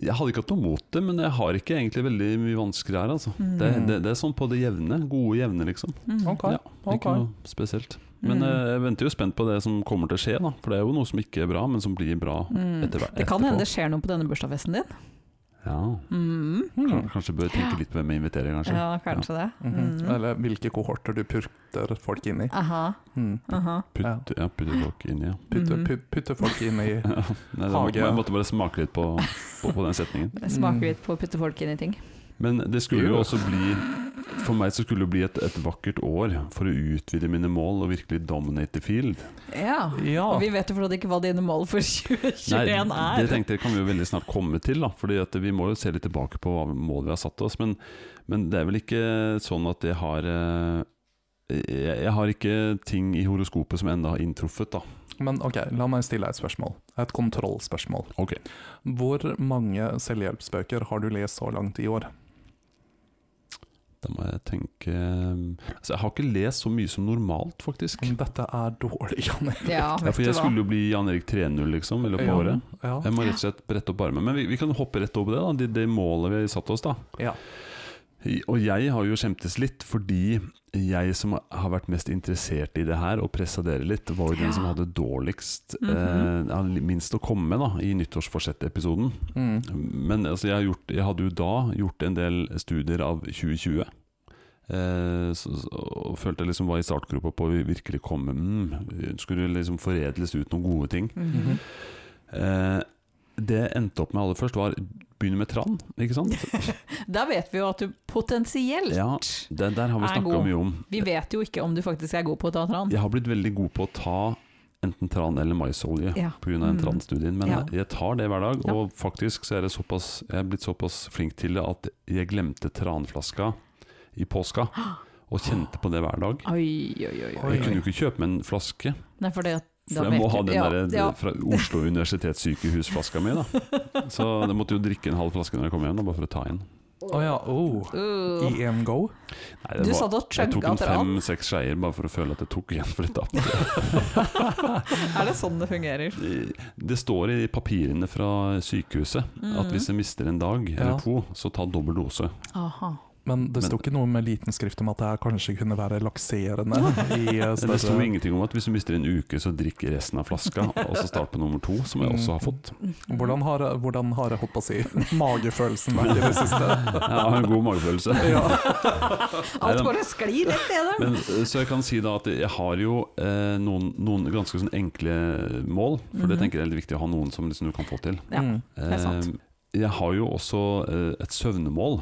S2: jeg hadde ikke hatt noe mot det, men jeg har ikke egentlig veldig mye vansker her, altså. Det,
S3: Mm.
S2: det, det er sånn på det jevne. Gode jevne, liksom.
S4: Ok.
S2: Ja,
S4: ok.
S2: Ikke noe spesielt.
S3: Mm.
S2: Men eh, jeg venter jo spent på det som kommer til å skje, da. For det er jo noe som ikke er bra, men som blir bra etter hvert.
S3: Mm. Det kan
S2: etterpå.
S3: hende det skjer noe på denne bursdagsfesten din. Mm.
S2: Ja.
S4: Hmm.
S2: Kan- Kanskje bør tenke litt på hvem jeg inviterer, kanskje.
S3: Ja, kanskje det. Mm.
S4: Mhm. Eller hvilke kohorter du putter folk inn i.
S3: Aha.
S4: Mm.
S3: aha.
S2: Putte, ja, putte folk inn i, ja.
S4: Putte, pu- putte folk inn i
S2: Nei, det
S4: Hage.
S2: måtte, jeg måtte bare smake litt på, på, på den setningen.
S3: Det Smaker litt på å putte folk inn i ting.
S2: Men det skulle jo også bli For meg så skulle det bli et, et vakkert år for å utvide mine mål og virkelig dominate the field.
S3: Ja.
S4: Ja.
S3: Og vi vet jo fortsatt ikke hva dine mål for (laughs)
S2: det
S3: 2021 er.
S2: tenkte jeg kan vi jo veldig snart komme til, da. Fordi at vi må jo se litt tilbake på hva mål vi har satt oss. Men, men det er vel ikke sånn at jeg har eh, jeg, jeg har ikke ting i horoskopet som ennå har inntruffet, da.
S4: Men ok, la meg stille deg et spørsmål. Et kontrollspørsmål.
S2: Ok.
S4: Hvor mange selvhjelpsbøker har du lest så langt i år?
S2: Da må jeg tenke Altså, jeg har ikke lest så mye som normalt, faktisk.
S4: Dette er dårlig, (laughs) Jan Erik.
S3: Ja,
S2: Ja,
S3: Mm. vet
S2: for jeg
S3: du hva.
S2: skulle jo bli Jan Erik 3.0, liksom, i løpet av året.
S4: Ja.
S2: Jeg må rett og slett brette opp armen. Men vi, vi kan hoppe rett over det, da. Det, det målet vi har satt oss, da.
S4: Ja.
S2: I- Og jeg har jo skjemtes litt, fordi jeg som har vært mest interessert i det her, og pressa dere litt, var jo den
S3: Ja.
S2: som hadde dårligst
S3: Mhm.
S2: eh, ja, Minst å komme med, da, i nyttårsforsett-episoden.
S4: Mm.
S2: Men altså, jeg, har gjort, jeg hadde jo da gjort en del studier av 2020. Eh, så, så, og følte jeg liksom var i startgropa på å virkelig komme mm, Skulle liksom foredles ut noen gode ting.
S3: Mhm.
S2: Eh, det jeg endte opp med aller først, var begynne med tran. ikke
S3: (laughs)
S2: sant?
S3: Da vet vi jo at du potensielt
S2: Ja, det, Der har vi
S3: Er
S2: snakka
S3: god.
S2: mye om.
S3: Vi vet jo ikke om du faktisk er god på å ta tran.
S2: Jeg har blitt veldig god på å ta enten tran eller maisolje
S3: Ja.
S2: pga. den
S3: Mm.
S2: transtudien, men
S3: Ja.
S2: jeg tar det hver dag. Og faktisk så er det såpass, jeg er blitt såpass flink til det at jeg glemte tranflaska i påska,
S3: (gasps)
S2: og kjente på det hver dag.
S3: Oi, oi, Ah! oi.
S2: Jeg
S3: oi.
S2: kunne jo ikke kjøpe meg en flaske,
S3: Nei, for det, da
S2: for jeg må
S3: vet
S2: ha
S3: du-
S2: den
S3: ja,
S2: der eh,
S3: ja.
S2: fra Oslo universitetssykehus-flaska
S3: (laughs)
S2: mi, da. Så jeg måtte jo drikke en halv flaske når jeg kom hjem, da, bare for å ta en.
S4: Å ja, oh.
S3: Uh.
S4: I en go?
S2: Nei, det
S3: Du
S2: var-
S3: satt og
S2: jeg tok
S3: chugga
S2: en
S3: tran.
S2: fem-seks skeier bare for å føle at jeg tok igjen (laughs) for et tap.
S3: Er det sånn det fungerer?
S2: Det står i papirene fra sykehuset
S3: Mm.
S2: at hvis jeg mister en dag eller
S4: Ja.
S2: to, så ta dobbel dose.
S3: Mhm. Aha.
S4: Men det sto
S2: Men-
S4: ikke noe med liten skrift om at det her kanskje kunne være lakserende? i eh,
S2: Men det sto
S4: større...
S2: ingenting om at hvis du mister en uke, så drikk resten av
S3: (laughs)
S2: flaska, og så start på nummer to, som jeg
S3: Mm.
S2: også har fått.
S4: Hvordan har, hvordan har jeg holdt på
S3: (laughs)
S4: å si, magefølelsen vært i det siste?
S2: Jeg har en god
S3: (laughs)
S2: magefølelse.
S4: Ja.
S3: Alt bare sklir rett ned
S2: Men, eh, så jeg kan si da at jeg har jo eh, noen, noen ganske sånn enkle mål, for det
S3: Mhm.
S2: tenker jeg er litt viktig å ha noen som liksom du kan få til.
S3: Ja,
S4: Mm.
S3: er sant.
S2: Eh, Jeg har jo også eh, et søvnemål.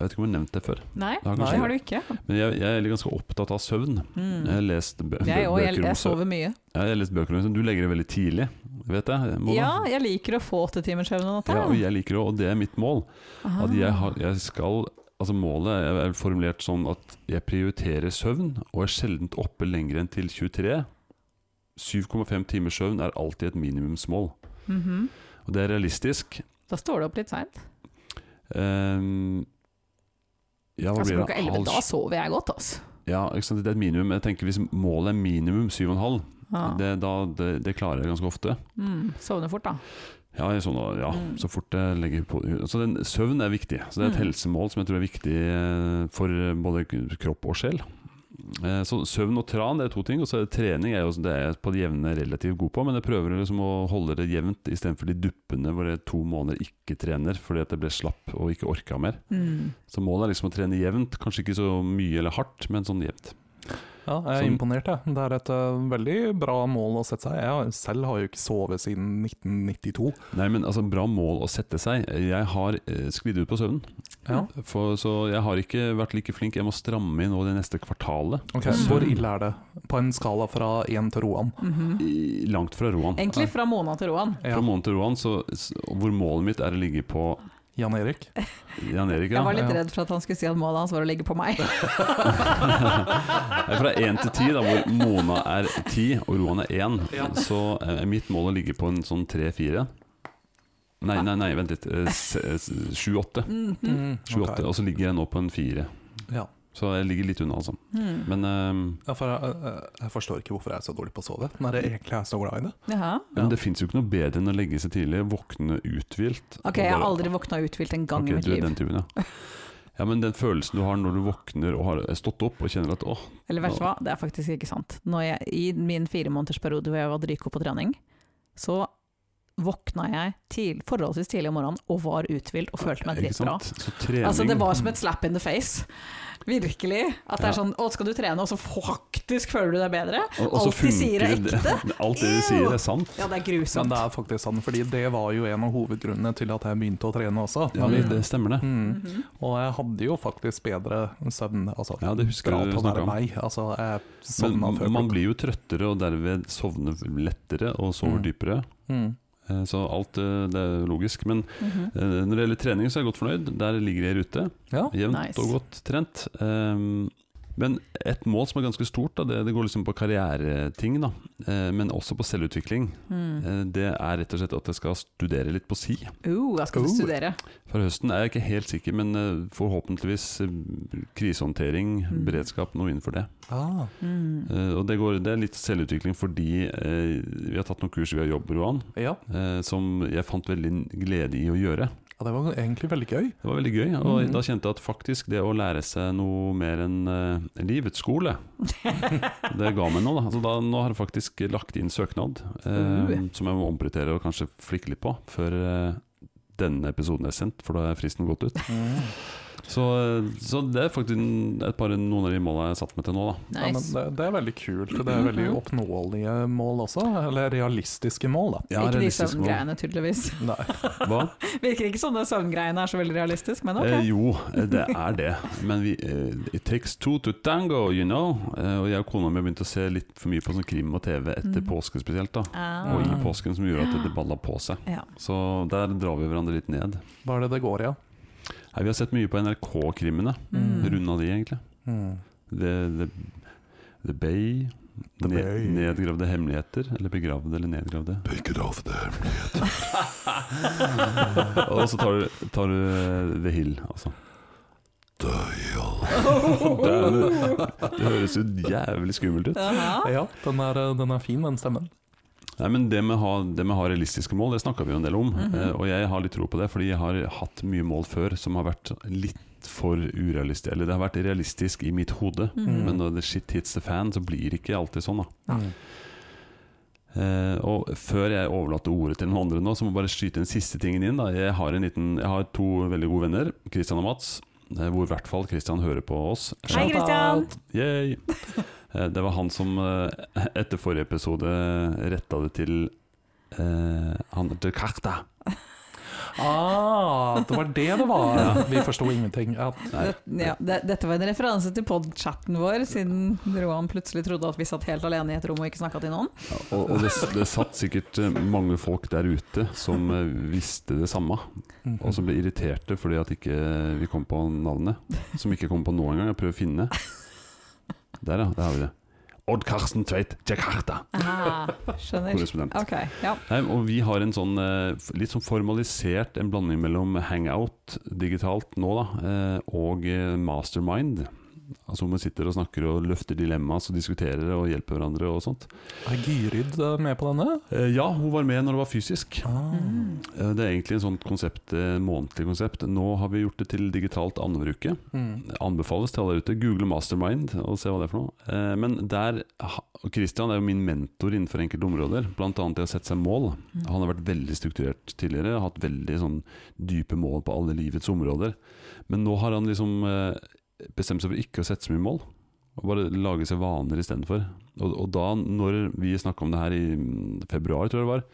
S2: Jeg vet ikke om jeg har nevnt det før.
S3: Nei,
S2: Jeg har
S4: Nei.
S2: kanskje-
S3: det har du ikke.
S2: Men jeg, jeg er ganske opptatt av søvn.
S3: Mm.
S2: Jeg har lest bø
S3: Jeg òg. Jeg,
S2: bøker om
S3: jeg
S2: søvn.
S3: sover mye.
S2: Ja, jeg har lest bøker om søvn. Du legger det veldig tidlig, vet jeg. Mona.
S3: Ja, jeg liker å få åtte timers søvn om
S2: Ja, og
S3: natta.
S2: jeg liker det, og det er mitt mål.
S3: Ah.
S2: At jeg, har, jeg skal Altså Målet er er formulert sånn at jeg prioriterer søvn, og er sjelden oppe lenger enn til 23. 7,5 timers søvn er alltid et minimumsmål.
S3: Mhm.
S2: Og det er realistisk.
S3: Da står det opp litt seint.
S2: Ehm, ja, hva
S3: Altså,
S2: blir det?
S3: klokka elleve.
S2: Halv-
S3: Da sover jeg godt, altså.
S2: Ja, ikke sant? Det er et minimum. Jeg tenker Hvis målet er minimum 7,5,
S3: Ja.
S2: det, da- det, det klarer jeg ganske ofte.
S3: Mm. Sovner fort, da.
S2: Ja, jeg er sånn, ja
S3: Mm.
S2: så fort jeg legger på Så den, søvn er viktig. Så det er et
S3: Mm.
S2: helsemål som jeg tror er viktig eh, for eh, både k- kropp og sjel. Eh, Så søvn og tran det er to ting. Og så er det trening er jo, det er jeg på det jevne relativt god på, men jeg prøver liksom å holde det jevnt istedenfor de duppene hvor jeg to måneder ikke trener fordi at jeg ble slapp og ikke orka mer.
S3: Mm.
S2: Så målet er liksom å trene jevnt. Kanskje ikke så mye eller hardt, men sånn jevnt.
S4: Ja, jeg er
S2: Sånn.
S4: imponert, jeg. Det er et eh, veldig bra mål å sette seg. Jeg har- selv har jo ikke sovet siden 1992.
S2: Nei, men altså, bra mål å sette seg. Jeg har eh, sklidd ut på søvnen.
S4: Ja.
S2: For, så jeg har ikke vært like flink. Jeg må stramme inn nå det neste kvartalet.
S4: Ok,
S2: Mm.
S4: Hvor ille er det? På en skala fra én til Roan?
S3: Mhm.
S2: I- Langt fra Roan.
S3: Egentlig fra Mona til Roan.
S4: Ja.
S2: Fra måned til Roan, så, s- hvor målet mitt er å ligge på
S4: Jan Erik?
S2: Jan Erik, ja.
S3: Jeg var litt
S4: Ja.
S3: redd for at han skulle si at målet hans var å ligge på
S2: (laughs)
S3: meg.
S2: Nei, Fra én til ti, da, hvor Mona er ti og Roan er én, så eh, er mitt mål å ligge på en sånn tre-fire. Nei, nei, nei, vent litt. Eh, Sju-åtte.
S3: Mhm.
S4: Ok.
S2: Og så ligger jeg nå på en fire.
S4: Ja.
S2: Så jeg ligger litt unna, altså.
S3: Mm.
S2: Men eh,
S4: Ja, for jeg, jeg- jeg forstår ikke hvorfor jeg er så dårlig på å sove, når jeg egentlig er så glad i det.
S3: Jaha.
S2: Men det fins jo ikke noe bedre enn å legge seg tidlig, våkne uthvilt.
S3: Ok, jeg har aldri våkna uthvilt en gang
S2: Ok,
S3: i mitt
S2: du er
S3: liv.
S2: Den typen,
S3: (laughs)
S2: ja. ja, men den følelsen du har når du våkner og har stått opp og kjenner at åh,
S3: Eller vet du hva, det er faktisk ikke sant. Når jeg, I min firemånedersperiode hvor jeg var dritgod på trening, så våkna jeg til, forholdsvis tidlig om morgenen og var uthvilt og følte meg
S2: Ikke
S3: dritbra.
S2: sant? Så trening
S3: Altså, det var som et slap in the face. Virkelig. At det er sånn Å, skal du trene, og så faktisk føler du deg bedre?
S2: Og- og så
S3: Alt de sier er
S2: funker det- (laughs)
S3: ekte.
S2: Alt det de sier,
S3: Ew.
S2: er sant.
S3: Ja, det er
S4: Men
S3: grusomt.
S4: det er faktisk sant, fordi det var jo en av hovedgrunnene til at jeg begynte å trene også.
S2: Ja, det, det stemmer, det.
S4: Mm.
S3: Mhm.
S4: Og jeg hadde jo faktisk bedre søvn. Altså,
S2: Ja, det husker
S4: fra
S2: jeg du
S4: til å
S2: snakket
S4: være
S2: om.
S4: meg. Altså, jeg sovna
S2: Men
S4: før
S2: man
S4: klokka.
S2: blir jo trøttere, og derved sovner lettere og sover
S4: Mm.
S2: dypere.
S4: Mm.
S2: Eh, Så alt eh, det er logisk. Men
S3: Mhm.
S2: eh, når det gjelder trening, så er jeg godt fornøyd. Der ligger jeg i rute.
S4: Ja.
S2: Jevnt
S3: Nice.
S2: og godt trent. Ehm, men et mål som er ganske stort, da, det, det går liksom på karriereting, da, eh, men også på selvutvikling,
S3: Mm.
S2: eh, det er rett og slett at jeg skal studere litt på si.
S3: Uh, jeg skal
S4: Uh.
S3: studere.
S2: For høsten er jeg ikke helt sikker, men eh, forhåpentligvis eh, krisehåndtering,
S3: Mm.
S2: beredskap, noe innenfor det.
S4: Ah.
S3: Mm. (laughs)
S2: Eh, og det, går, det er litt selvutvikling fordi eh, vi har tatt noen kurs via jobb, Roan,
S4: Ja.
S2: eh, som jeg fant veldig glede i å gjøre.
S4: ja, det var egentlig veldig gøy.
S2: Det var veldig gøy, og
S4: Mhm.
S2: da kjente jeg at faktisk det å lære seg noe mer enn eh, livets skole, det ga meg noe. Da. Så da, nå har jeg faktisk lagt inn søknad, eh,
S3: Uh.
S2: som jeg må omprioritere og kanskje flikke litt på før eh, denne episoden er sendt, for da er fristen gått ut. Så, eh, så det er faktisk en- et par noen av de måla jeg har satt meg til nå, da.
S4: Ja, men
S3: Nice.
S4: det, det er veldig kult. Det er veldig oppnåelige mål også. Eller realistiske mål, da.
S2: Ja,
S3: ikke de
S2: realistisk mål.
S3: søvngreiene, tydeligvis. (laughs)
S4: Nei.
S2: Hva?
S3: Virker ikke som den søvngreiene er så veldig realistisk, men
S2: Eh,
S3: ok.
S2: jo, eh, det er det. Men vi, eh, it takes two to tango, you know. Eh, og jeg og kona mi har begynt å se litt for mye på sånn krim og TV etter
S3: Mhm.
S2: påske spesielt. da
S3: Ah.
S2: og i påsken som gjorde at det balla på seg.
S3: Ja.
S2: Så der drar vi hverandre litt ned.
S4: Hva er det det går i, ja?
S2: Nei, vi har sett mye på NRK-krimmene.
S3: Mm.
S2: Runda de, egentlig.
S4: Mm.
S2: The, the, the Bay.
S4: The
S2: ned-
S4: Bay.
S2: Nedgravde hemmeligheter. Eller begravde eller nedgravde. (laughs) Og så tar du, tar du eh, The Hill, altså. Det, er, det høres jo jævlig skummelt ut.
S3: Aha.
S4: Ja, den er, eh, den er fin, den stemmen.
S2: Nei, men Det med å ha, det med å ha realistiske mål, det snakka vi jo en del om.
S3: Mhm.
S2: eh, og jeg har litt tro på det, fordi jeg har hatt mye mål før som har vært litt for urealistisk. Eller det har vært realistisk i mitt hode,
S3: Mhm.
S2: men når the shit hits the fan, så blir det ikke alltid sånn. da
S4: Mm.
S2: Eh, og før jeg overlater ordet til noen andre nå, så må jeg bare skyte den siste tingen inn. da Jeg har, en liten, jeg har to veldig gode venner, Christian og Mats, eh, hvor i hvert fall Christian hører på oss.
S3: Hei, Christian!
S2: Yay! Eh, Det var han som eh, etter forrige episode retta det til eh, han heter Karta.
S4: Ah, det var det det var!
S2: Ja.
S4: Vi forsto ingenting. Ja.
S2: Nei.
S3: Det- Ja, det, dette var en referanse til podchatten vår, siden Roan plutselig trodde at vi satt helt alene i et rom og ikke snakka til noen.
S2: Og, og det, det satt sikkert eh, mange folk der ute som eh, visste det samme,
S4: Mm.
S2: og som ble irriterte fordi at ikke vi kom på navnet. Som ikke kom på nå engang. Jeg prøver å finne. Der, ja. Der har vi det. Odd Karsten Tveit Jakarta,
S3: Ah, skjønner.
S2: korrespondent.
S3: Ok, ja.
S2: Nei, og vi har en sånn eh, f- litt sånn formalisert en blanding mellom hangout digitalt nå da, eh, og eh, mastermind. Altså hvor man sitter og snakker og løfter dilemmas og diskuterer og hjelper hverandre og sånt.
S4: Er Gyrid eh, med på denne?
S2: Eh, ja, hun var med når det var fysisk.
S4: Ah.
S3: Mm.
S2: Eh, det er egentlig en sånn konsept, eh, månedlig konsept. Nå har vi gjort det til digitalt annenhver uke.
S4: Mm.
S2: Anbefales til alle der ute. Google mastermind og se hva det er for noe. Eh, men der, ha- Christian er jo min mentor innenfor enkelte områder. Blant annet i å sette seg mål.
S3: Mm.
S2: Han har vært veldig strukturert tidligere, hatt veldig sånn dype mål på alle livets områder. Men nå har han liksom eh, bestemt seg for ikke å sette så mye mål, og bare lage seg vaner istedenfor. Og, og da, når vi snakka om det her i mm, februar, tror jeg det var,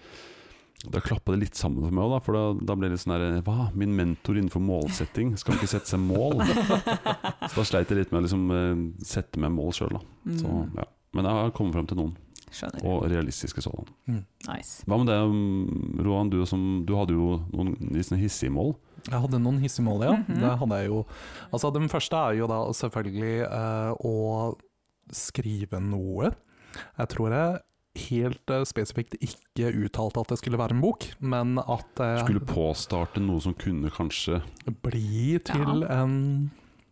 S2: da klappa det litt sammen for meg òg, for da, da ble det sånn her Hva, min mentor innenfor målsetting skal ikke sette seg mål? Så da sleit jeg litt med å liksom eh, sette meg mål sjøl, da. Så,
S3: Mm.
S2: ja. Men jeg har kommet fram til noen,
S3: Skjønner.
S2: og realistiske sådan.
S3: Nice.
S2: Hva med det, um, Roan? Du, som, du hadde jo noen litt sånne hissige mål.
S4: Jeg hadde noen hissige mål, ja.
S3: Mhm.
S4: Det hadde jeg jo. Altså, den første er jo da selvfølgelig eh, å skrive noe. Jeg tror jeg helt eh, spesifikt ikke uttalte at det skulle være en bok, men at det
S2: Skulle påstarte noe som kunne kanskje
S3: (laughs)
S4: blir til en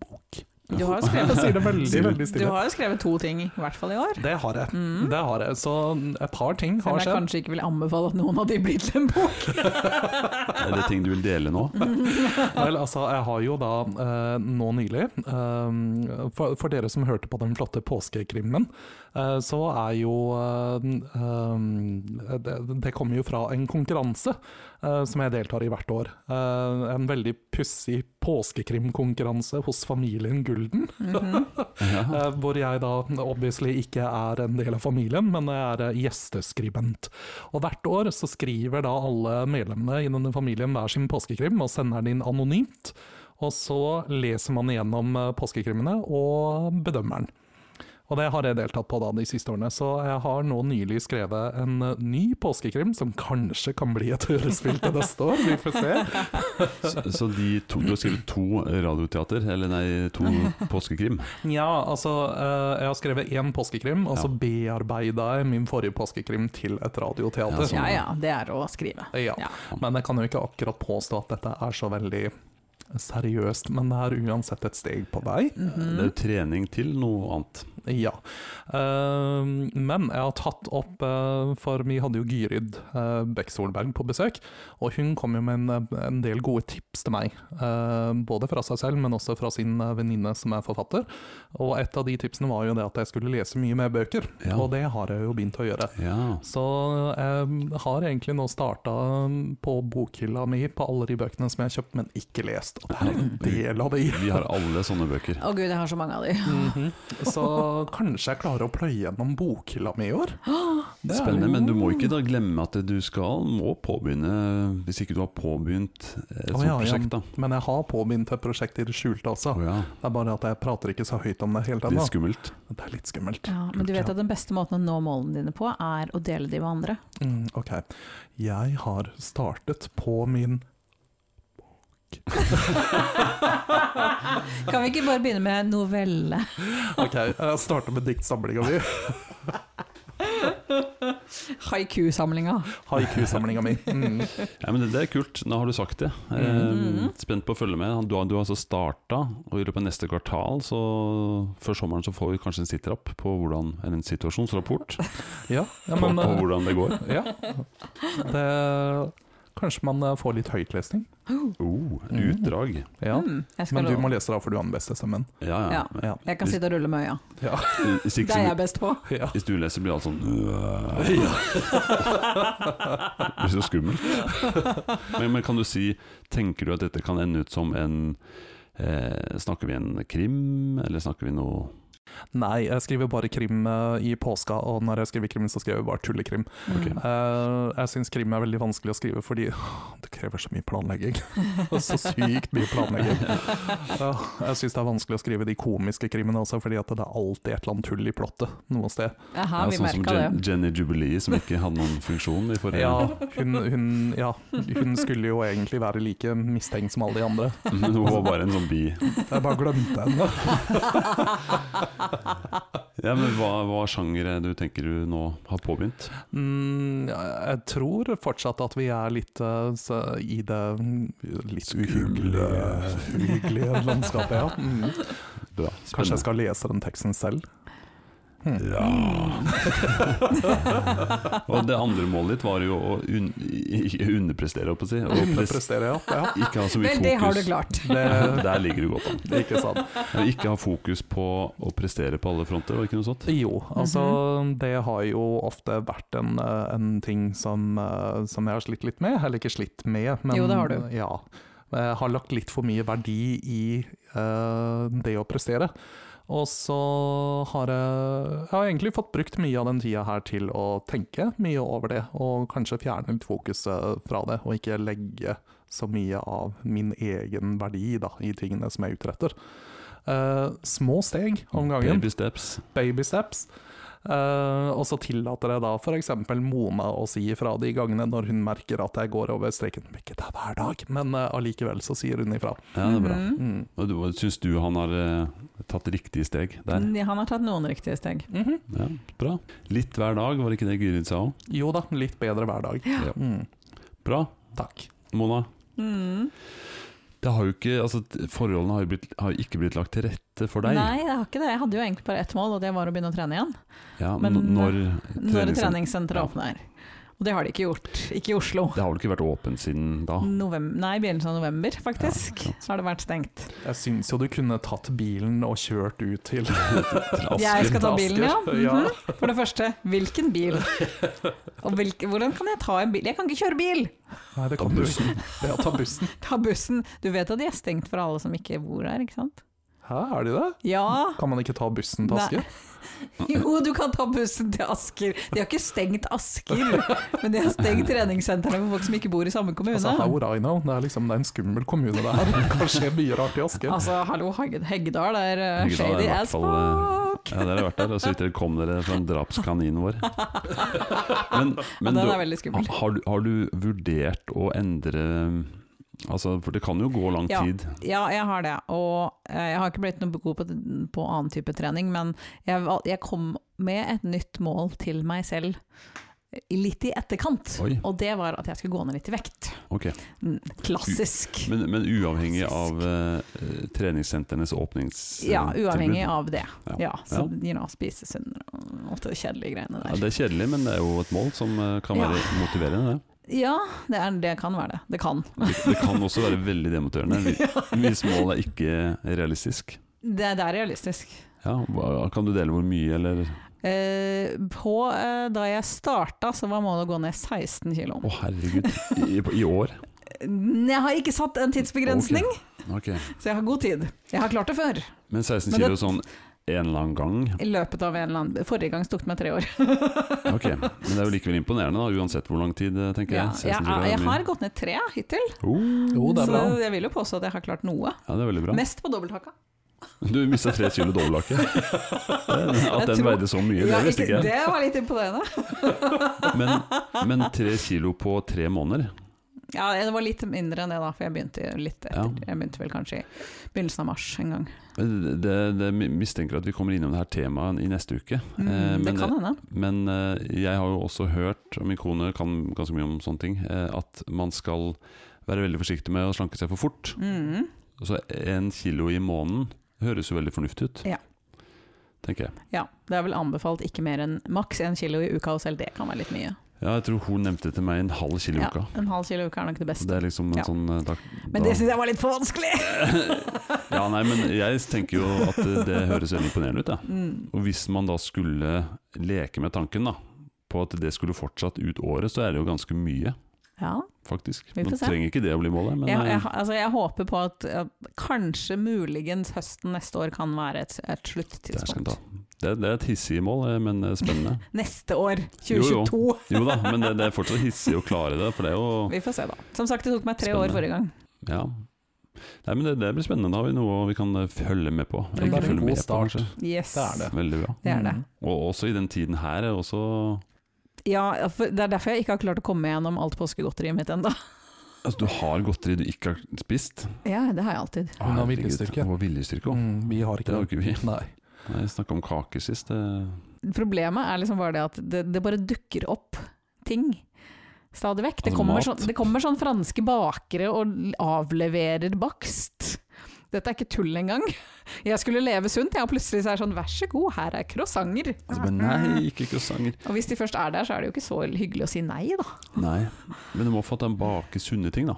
S4: bok.
S3: Du (laughs) har jo
S4: Jeg sier
S3: skrevet,
S4: det veldig, veldig
S3: (laughs) du
S4: stille.
S3: har jo skrevet to ting, i hvert fall i år.
S4: Det har jeg.
S3: Mm.
S4: Det har jeg. Så et par ting
S3: Selv om
S4: har
S3: jeg
S4: skjedd.
S3: kanskje ikke vil anbefale at noen av de blir til en bok.
S2: Er det ting du vil dele
S4: (laughs)
S2: nå?
S4: Vel, altså, jeg har jo da eh, nå nylig eh, for, for dere som hørte på den flotte påskekrimmen, eh, så er jo eh, eh, det, det kommer jo fra en konkurranse eh, som jeg deltar i hvert år. Eh, en veldig pussig påskekrimkonkurranse hos familien Gulden. (laughs)
S2: Ja.
S4: Eh, hvor jeg da obviously ikke er en del av familien, men jeg er eh, gjesteskribent. Og hvert år så skriver da alle medlemmene i denne familien hver sin påskekrim og sender den inn anonymt. Og så leser man igjennom eh, påskekrimene og bedømmer den. Og det har jeg deltatt på da de siste årene, så jeg har nå nylig skrevet en eh, ny påskekrim som kanskje kan bli et (laughs) hørespill til neste år, vi får se.
S2: Så, så de to, du har skrevet to radioteater, eller nei,
S4: (laughs)
S2: to påskekrim.
S4: Ja, altså eh, Jeg har skrevet én påskekrim, og så
S2: Ja.
S4: bearbeida jeg min forrige påskekrim til et radioteater.
S2: Ja, sånn.
S3: Ja ja, det er å skrive.
S4: Ja.
S3: Ja.
S4: Men jeg kan jo ikke akkurat påstå at dette er så veldig seriøst, men det er uansett et steg på vei.
S3: Mhm.
S2: Det er jo trening til noe annet.
S4: Ja. Eh, men jeg har tatt opp eh, For vi hadde jo Gyrid uh, Bekk Solberg på besøk, og hun kom jo med en, en del gode tips til meg. eh, både fra seg selv, men også fra sin eh, venninne som er forfatter. Og et av de tipsene var jo det at jeg skulle lese mye mer bøker,
S2: Ja.
S4: og det har jeg jo begynt å gjøre.
S2: Ja.
S4: Så jeg har egentlig nå starta på bokhylla mi på alle de bøkene som jeg har kjøpt, men ikke lest. Og det er en del av de.
S2: Vi har alle sånne bøker.
S3: Å gud, jeg har så mange av de.
S4: Mhm. Så kanskje jeg klarer å pløye gjennom bokhylla mi i år. Det er-
S2: Spennende, men du må ikke da glemme at du skal må påbegynne, hvis ikke du har påbegynt et
S4: Å,
S2: sånt
S4: ja, ja.
S2: prosjekt, da.
S4: Men jeg har påbegynt et prosjekt i det skjulte
S2: Å
S4: også.
S2: ja,
S4: Det er bare at jeg prater ikke så høyt om det helt
S2: litt
S4: ennå.
S2: skummelt.
S4: Det er litt skummelt.
S3: Ja, men du vet at den beste måten å nå målene dine på, er å dele de med
S2: (laughs)
S3: andre.
S4: Mm, ok. Jeg har startet på min
S3: Kan vi ikke bare begynne med novelle?
S4: Ok, jeg starter med diktsamlinga mi.
S3: Haiku-samlinga.
S4: Haiku-samlinga mi. Mm.
S2: Ja, men det, det er kult, nå har du sagt det.
S3: Mm. Mm-hmm.
S2: Eh, spent på å følge med. Du har, du har altså starta, og i løpet av neste kvartal, så før sommeren, så får vi kanskje en sitrapp på hvordan, eller en situasjonsrapport
S4: Ja, ja,
S2: på,
S4: men,
S2: på
S4: eh,
S2: hvordan det
S3: (laughs)
S2: går. Uh,
S4: Ja. Det, kanskje man eh, får litt høytlesning.
S2: Oh,
S3: Mm-hmm.
S2: utdrag.
S4: Ja.
S3: Mm, jeg, skal
S4: Men du
S3: love.
S4: må lese da, for du har den beste stemmen.
S2: Ja, ja. Eh,
S3: Ja.
S4: Ja.
S3: jeg kan sitte og rulle med øya.
S4: Ja.
S2: Hvis,
S3: Det
S2: ikke, så,
S3: er jeg best på.
S4: ja. (laughs)
S2: hvis du leser, blir alt sånn øh, Det blir så skummelt.
S3: (laughs)
S2: Men, men kan du si Tenker du at dette kan ende ut som en eh, Snakker vi en krim, eller snakker vi noe
S4: Nei, jeg skriver bare krim eh, i påska, og når jeg skriver krim, så skriver jeg bare tullekrim.
S3: Mm.
S4: Eh, jeg syns krim er veldig vanskelig å skrive fordi åh, det krever så mye planlegging. (laughs) så sykt mye planlegging. Ja, jeg syns det er vanskelig å skrive de komiske krimene også, fordi at det er alltid et eller annet tull i plottet noe sted.
S3: Aha,
S2: Ja,
S3: vi
S2: Sånn som
S3: merka det.
S2: Jen, Jenny Jubilee, som ikke hadde noen funksjon i forrige
S4: Ja hun, hun, ja, hun skulle jo egentlig være like mistenkt som alle de andre.
S2: (laughs) Men hun var bare en sånn bi.
S4: Jeg bare glemte henne.
S2: Ja, men hva, hva sjanger er det du tenker du nå har påbegynt?
S4: (laughs) Mm, ja, jeg tror fortsatt at vi er litt eh, så- i det mm, litt uhyggelige, uhyggelige landskapet. Ja. (laughs) Mm.
S2: Bra.
S4: Kanskje jeg skal lese den teksten selv?
S3: Hmm.
S2: Ja. Og det andre målet ditt var jo å un ikke underprestere, holdt jeg på å si. Og
S4: Det
S2: pres-
S4: presterer jeg. Ja.
S2: ikke ha så mye
S3: Vel, det har du
S2: fokus.
S3: klart.
S4: (laughs) Det,
S2: (laughs) Der ligger du godt an.
S4: det er ikke sant.
S2: Men Ikke ha fokus på å prestere på alle fronter, var det ikke noe sånt?
S4: Jo, altså
S3: Mhm.
S4: det har jo ofte vært en, eh, en ting som, eh, som jeg har slitt litt med. Eller ikke slitt med, men
S3: Jo, det har du.
S4: Ja. Jeg har lagt litt for mye verdi i eh, det å prestere. Og så har jeg, jeg har egentlig fått brukt mye av den tida her til å tenke mye over det, og kanskje fjerne litt fokuset fra det, og ikke legge så mye av min egen verdi da, i tingene som jeg utretter. Eh, små steg om gangen
S2: Baby steps.
S4: baby steps. Eh, og så tillater jeg da f.eks. Mona å si ifra de gangene når hun merker at jeg går over streken. Ikke det er hver dag, men eh, allikevel så sier hun ifra.
S2: Ja, det er bra.
S3: Mhm.
S4: Mm.
S2: Og du- Syns du han har eh, tatt riktige steg der?
S3: Ja, Han har tatt noen riktige steg.
S4: Mhm.
S2: Ja, bra. Litt hver dag, var det ikke det Gyrid sa òg?
S4: Jo da, Mm. litt bedre hver dag.
S2: Ja.
S4: Mm.
S2: Bra.
S4: Takk.
S2: Mona,
S3: Mm.
S2: Det har jo ikke, altså, forholdene har jo blitt, har jo ikke blitt lagt til rette for deg.
S3: Nei, jeg har ikke det. Jeg hadde jo egentlig bare ett mål, og det var å begynne å trene igjen.
S2: ja,
S3: men, eh,
S2: n- når,
S3: Når
S2: treningssenter-
S3: treningssenteret
S2: Ja.
S3: åpner. Og det har de ikke gjort. Ikke i Oslo.
S2: Det har vel ikke vært åpent siden da?
S3: Novem- nei, begynnelsen av november, faktisk. så har det vært stengt.
S4: Jeg syns jo du kunne tatt bilen og kjørt ut til
S3: (laughs) Jeg skal ta bilen, ja.
S4: Asker, ja.
S3: Mhm. For det første, hvilken
S2: (laughs)
S3: bil? Og hvilke, hvordan kan jeg ta en bil? Jeg kan ikke kjøre bil!
S4: Nei, det
S2: Ta
S4: kan du ikke.
S2: bussen.
S4: Ja, ta bussen.
S3: Ta bussen. Du vet at de er stengt for alle som ikke bor der, ikke sant?
S4: Hæ, er de det?
S3: Ja,
S4: Kan man ikke ta bussen til
S3: Nei.
S4: Asker?
S3: jo du kan ta bussen til Asker. De har ikke stengt Asker, men de har stengt treningssentrene for folk som ikke bor i samme kommune.
S4: Altså, how would I know? Det er liksom det er en skummel kommune (laughs) det her. Det kan skje mye rart i Asker.
S3: Altså, hallo, Heg- Heggedal er eh,
S2: Heggedal er i
S3: shady
S2: hvert
S3: as
S2: fall, eh,
S3: fuck!
S2: Ja, dere har vært der, og så vidt dere kom dere fra en drapskanin
S3: (laughs)
S2: vår. Men,
S3: Ja,
S2: men
S3: den
S2: du,
S3: er veldig skummel.
S2: har, du- har du vurdert å endre Altså, for det kan jo gå lang
S3: Ja.
S2: tid.
S3: Ja, jeg har det. Og eh, jeg har ikke blitt noe god på, på annen type trening, men jeg, val- jeg kom med et nytt mål til meg selv i- litt i etterkant.
S2: Oi.
S3: Og det var at jeg skulle gå ned litt i vekt.
S2: Ok.
S3: Mm, Klassisk.
S2: Men, men uavhengig av eh, treningssentrenes åpningstilbud?
S3: Ja, uavhengig av det.
S2: eh, Ja.
S3: Ja, så, you know, spise sunnere og alt det kjedelige greiene
S2: Ja,
S3: der.
S2: det er kjedelig, men det er jo et mål som eh, kan
S3: Ja.
S2: være motiverende. Det.
S3: Ja, det, er, det kan være det. Det kan.
S2: Det, det kan også være veldig demotiverende
S3: (laughs)
S2: hvis- hvis målet er ikke realistisk.
S3: Det, det er realistisk.
S2: Ja, hva- kan du dele hvor mye, eller Å,
S3: Eh, på, eh, da jeg starta, så var målet å gå ned 16 kilo.
S2: herregud. I, I år?
S3: Jeg har ikke satt en tidsbegrensning,
S2: Ok.
S3: så jeg har god tid. Jeg har klart det før.
S2: Men 16
S3: Men
S2: kilo
S3: det-
S2: sånn en eller annen gang
S3: I løpet av en eller annen Forrige gang tok det meg tre år.
S2: Ok, Men det er jo likevel imponerende, da, uansett hvor lang tid, eh, tenker
S3: Ja,
S2: jeg.
S3: jeg,
S2: 16 kilo er
S3: jeg
S2: mye.
S3: har gått ned tre hittil,
S2: Oh,
S4: Jo, det
S3: så
S4: er bra.
S3: jeg vil jo påstå at jeg har klart noe.
S2: ja, det er veldig bra.
S3: Mest på dobbelthakka.
S2: Du mista tre kilo
S3: (laughs)
S2: dobbelthake. At den
S3: tror-
S2: veide så mye, det
S3: Ja,
S2: visste ikke jeg.
S3: det var litt imponerende.
S2: Men, men tre kilo på tre måneder?
S3: Ja, det var litt mindre enn det, da, for jeg begynte litt etter.
S2: Ja.
S3: Jeg begynte vel kanskje i begynnelsen av mars en gang.
S2: Det, det, det mistenker at vi kommer innom det her temaet i neste uke.
S3: Mm,
S2: Eh,
S3: det
S2: men
S3: kan hende.
S2: Men eh, jeg har jo også hørt, og min kone kan ganske mye om sånne ting, eh, at man skal være veldig forsiktig med å slanke seg for fort.
S3: Mm.
S2: Så en kilo i måneden høres jo veldig fornuftig ut.
S3: Ja.
S2: Tenker jeg.
S3: Ja, det er vel anbefalt ikke mer enn maks én kilo i uka, og selv det kan være litt mye.
S2: Ja, jeg tror hun nevnte til meg en halv kilo i
S3: Ja,
S2: uka.
S3: en halv kilo i uka er nok
S2: Så
S3: det beste.
S2: Det er liksom en
S3: Ja.
S2: sånn eh, da,
S3: Men det syns jeg var litt for vanskelig!
S2: (laughs) Ja, nei, men jeg tenker jo at eh, det høres veldig imponerende ut, ja.
S3: Mm.
S2: Og hvis man da skulle leke med tanken da, på at det skulle fortsatt ut året, så er det jo ganske mye,
S3: Ja.
S2: faktisk.
S3: Vi får
S2: Man
S3: se.
S2: trenger ikke det å bli målet, men
S3: jeg,
S2: eh,
S3: jeg, altså jeg håper på at, at kanskje muligens høsten neste år kan være et, et
S2: Det, skal
S3: sluttidspunkt.
S2: den ta. det, det er et hissig mål, eh, men eh, spennende.
S3: Neste år,
S2: Jo, jo.
S3: 2022!
S2: Jo da, men det, det er fortsatt hissig å klare det, for det er jo
S3: Vi får se, da. Som sagt, det tok meg tre
S2: Spennende.
S3: år forrige gang.
S2: Ja. Nei, men det, det blir spennende. Da har vi noe vi kan eh, følge med på.
S3: er en
S2: Ikke følge
S4: god
S2: med på,
S4: start.
S2: kanskje.
S3: Yes.
S4: Det er det.
S2: Veldig bra.
S3: Det er det.
S4: Mm.
S2: Og også i den tiden her er også
S3: Ja, for det er derfor jeg ikke har klart å komme gjennom alt påskegodteriet mitt ennå.
S2: Altså, du har godteri du ikke har spist.
S3: Ja, det har jeg alltid.
S4: Hun har
S2: Herregud,
S4: viljestyrke.
S2: Og viljestyrke også.
S4: Mm, vi har
S2: Det
S4: ikke
S2: har jo
S4: det.
S2: ikke vi.
S4: Nei.
S2: Nei, Vi snakka om kaker sist. Det
S3: Problemet er liksom bare det at det, det bare dukker opp ting stadig vekk. Det,
S2: Altså
S3: kommer
S2: mat.
S3: sånn, det kommer sånn franske bakere og l- avleverer bakst. Dette er ikke tull engang. (laughs) Jeg skulle leve sunt, jeg, og plutselig så er det sånn vær så god, her er croissanter.
S2: altså, men nei, ikke croissanter.
S3: Og hvis de først er der, så er det jo ikke så hyggelig å si nei, da.
S2: Nei. Men du må få at de baker sunne ting, da.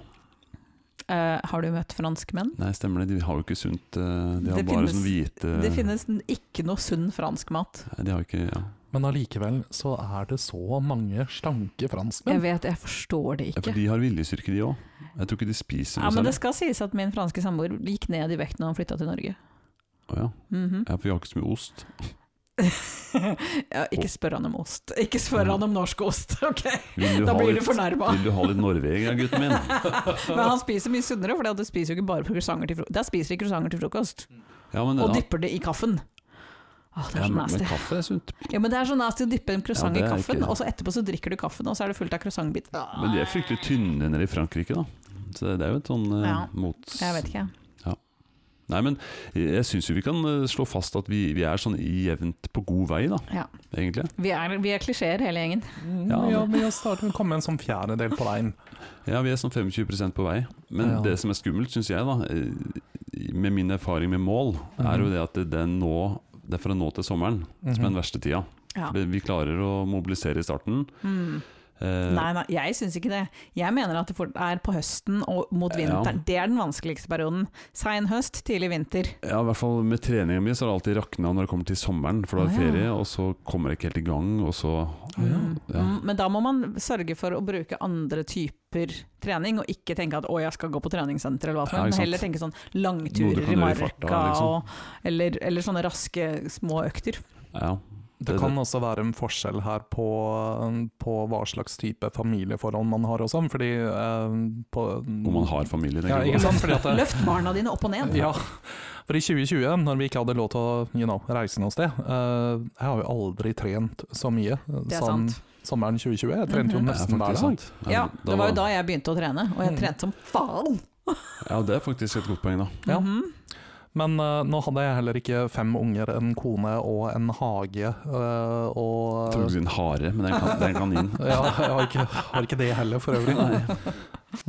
S3: Eh, har du møtt franskmenn?
S2: Nei, stemmer det. De har jo ikke sunt eh, De har
S3: Det
S2: bare
S3: finnes-
S2: sånn hvite
S3: Det finnes n- ikke noe sunn fransk mat.
S2: Nei, de har ikke ja.
S4: Men allikevel så er det så mange slanke
S3: Jeg
S4: franskmenn.
S3: vet, jeg forstår det
S2: Ja, for
S3: ikke.
S2: de sånn. har viljestyrke, de òg. Jeg tror ikke de spiser
S3: Ja,
S2: noe
S3: men det
S2: særlig.
S3: skal sies at min franske samboer gikk ned i vekt når han flytta til Norge.
S2: Å ja.
S3: Mhm.
S2: ja, for vi har ikke så mye ost.
S3: ja, ikke spør han om ost. (laughs) Ikke spør han om norsk ost, (laughs) ok?
S2: Vil Mm. du,
S3: Da
S2: ha
S3: blir du
S2: litt,
S3: fornærma.
S2: vil du ha litt Norvegia, gutten min?
S3: Men han spiser mye sunnere, for du spiser jo ikke bare croissanter til frokost. Der spiser de croissanter til frokost,
S2: Ja, men,
S3: (laughs) og
S2: ja,
S3: dypper det i kaffen. Åh, det
S2: ja,
S3: er så
S2: men, men
S3: nasty.
S2: kaffe er sunt.
S3: Ja, men det er så nasty å dyppe en
S2: Ja,
S3: croissant
S2: det
S3: i
S2: er
S3: kaffen,
S2: ikke-
S3: og så etterpå så drikker du kaffen, og så er det fullt av croissantbit.
S2: Men de er fryktelig tynne nede i Frankrike, da. Så det er jo et sånn eh,
S3: Ja,
S2: mots...
S3: Jeg vet ikke.
S2: Nei, men jeg syns jo vi kan eh, slå fast at vi, vi er sånn jevnt på god vei, da,
S3: Ja.
S2: egentlig.
S3: Vi er, vi er klisjeer hele gjengen.
S2: Ja,
S4: Ja, vi har startet å komme en sånn fjerdedel på veien.
S2: Ja, vi er sånn 25 på vei. Men
S4: Ja.
S2: det som er skummelt, syns jeg, da, eh, med min erfaring med mål, er jo det at det er, nå, det er fra nå til sommeren som
S4: Mhm.
S2: er den verste tida.
S3: Mhm. Ja.
S2: For det- Vi klarer å mobilisere i starten.
S3: Mm.
S2: Eh,
S3: Nei, nei, jeg syns ikke det. Jeg mener at det fort er på høsten og mot vinteren. Det er den vanskeligste perioden. Sein høst, tidlig vinter.
S2: Ja, i hvert fall med treningen min så har det alltid rakna når det kommer til sommeren, for da er
S3: Å,
S2: det
S3: ja.
S2: ferie, og så kommer jeg ikke helt i gang, og så
S3: Mm.
S2: ja.
S3: Mm, Men da må man sørge for å bruke andre typer trening, og ikke tenke at 'å, jeg skal gå på treningssenter', eller hva som
S2: Ja, ikke sant.
S3: helst. Men heller tenke sånn
S2: Noe du
S3: langturer
S2: kan
S3: i
S2: gjøre i farta,
S3: marka,
S2: liksom.
S3: og, eller, eller sånne raske små økter.
S2: ja.
S4: Det
S2: Det-
S4: kan
S2: det-
S4: også være en forskjell her på, på hva slags type familieforhold man har og sånn, fordi eh, på,
S2: Om man har familie,
S4: ja,
S2: tenker jeg
S4: ikke
S2: på.
S4: sant?
S3: (laughs)
S4: Fordi at det,
S3: Løft barna dine opp og ned.
S4: Ja, for i 2020, når vi ikke hadde lov til å you know, reise noe sted eh, Jeg har jo aldri trent så mye eh,
S3: Det er
S4: som
S3: sant.
S4: sommeren 2020. Jeg trente jo
S3: Mhm.
S2: Det er
S4: nesten
S2: faktisk
S4: hver dag.
S2: sant.
S3: Ja, det var jo da jeg begynte å trene, og jeg
S4: Mm.
S3: trente som faen!
S2: Ja, det er faktisk et godt poeng, da.
S4: Ja.
S3: Mhm.
S4: Men eh, nå hadde jeg heller ikke fem unger, en kone og en hage. eh,
S2: Jeg
S4: og
S2: tror du skulle si en hare, men det er en kan- det er en
S4: (laughs)
S2: kanin.
S4: ja, jeg har ikke, har ikke det heller, for øvrig.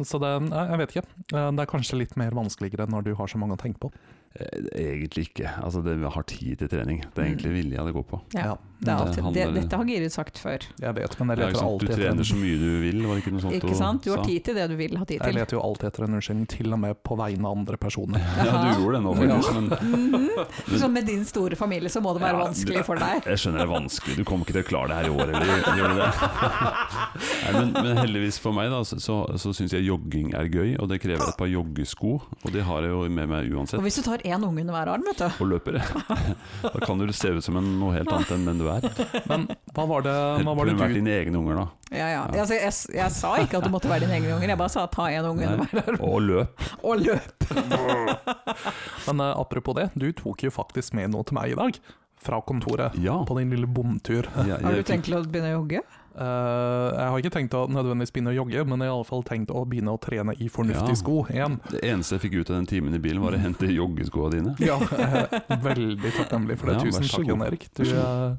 S4: Så det, nei, jeg vet ikke. Eh, Det er kanskje litt mer vanskeligere når du har så mange å tenke på.
S2: Eh, Egentlig ikke. Altså, det vi har tid til trening. Det er
S3: Mm.
S2: egentlig vilja det går på.
S3: Ja,
S4: Ja,
S3: Det er
S2: Det
S3: alltid, det,
S2: handler-
S3: dette har Girud sagt før.
S4: Mm, Jeg vet,
S2: Det er jo
S4: men jeg leter
S2: ikke sant,
S4: alltid
S2: du
S4: etter
S2: trener
S4: en
S2: så mye du vil, var det ikke noe sånt
S3: Ikke sant? Du har
S2: sa?
S3: tid til det du vil ha tid
S4: Jeg
S3: til.
S4: leter jo alltid etter en unnskyldning, til og med på vegne av andre personer.
S2: Ja, du gjorde det nå, faktisk. Men
S3: Så med din store familie så må det være
S2: Ja,
S3: vanskelig
S2: det-
S3: for deg.
S2: jeg skjønner det er vanskelig. Du kommer ikke til å klare det her i år, eller gjør
S4: (laughs)
S2: du det? Nei, men, men heldigvis for meg, da, så, så, så syns jeg jogging er gøy, og det krever et par joggesko. Og de har jeg jo med meg
S3: Og
S2: uansett.
S3: hvis du tar én unge under hver arm, vet du.
S2: Og løper,
S4: (laughs)
S2: da kan du se ut som en, noe helt annet enn den du er.
S4: Men hva var det, hva var
S2: Kunne
S4: det
S2: vært
S4: du
S2: dine egne unger, da.
S3: Ja, ja. Altså, jeg, s- jeg sa ikke at du måtte være dine egne unger, jeg bare sa ta én unge under
S2: Nei.
S3: hver arm.
S2: Og løp.
S3: Og løp!
S4: Men eh, apropos det, du tok jo faktisk med noe til meg i dag. Fra kontoret.
S2: Ja.
S4: På din lille bomtur.
S2: Jeg,
S3: Har du
S2: jeg fikk,
S3: tenkt å begynne å jogge?
S4: Eh, jeg har ikke tenkt å nødvendigvis begynne å jogge, men jeg har iallfall tenkt å begynne å trene i fornuftige
S2: Ja.
S4: sko igjen.
S2: det eneste jeg fikk ut av den timen i bilen, var å hente joggeskoa
S4: (laughs)
S2: dine.
S4: Ja, jeg er veldig takknemlig for det.
S2: Ja, vær
S4: Tusen
S2: så god.
S4: takk, Jan Erik. Du,
S2: Vær så
S4: eh,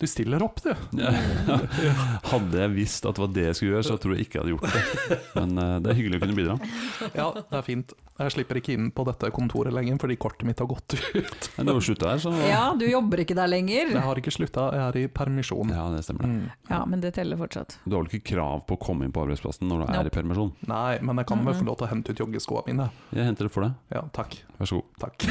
S4: du stiller opp, du.
S2: Ja. Hadde jeg visst at det var det jeg skulle gjøre, så tror jeg ikke jeg hadde gjort det.
S4: (laughs)
S2: Men eh, det er hyggelig å kunne bidra.
S4: Ja, (laughs) det er fint. Jeg slipper ikke inn på dette kontoret lenger fordi kortet mitt har gått (laughs) ut.
S2: Men det var slutt der, så
S3: Ja, du jobber ikke der lenger.
S4: Jeg har ikke slutta, jeg er i permisjon.
S2: Ja, det stemmer. det.
S4: Mm.
S3: Ja, men det teller fortsatt.
S2: Du har vel ikke krav på å komme inn på arbeidsplassen når du er i permisjon?
S4: Nei, men jeg kan vel få lov til å hente ut joggeskoa mine.
S2: Jeg henter det for deg.
S4: Ja, takk.
S2: Vær så god.
S4: Takk.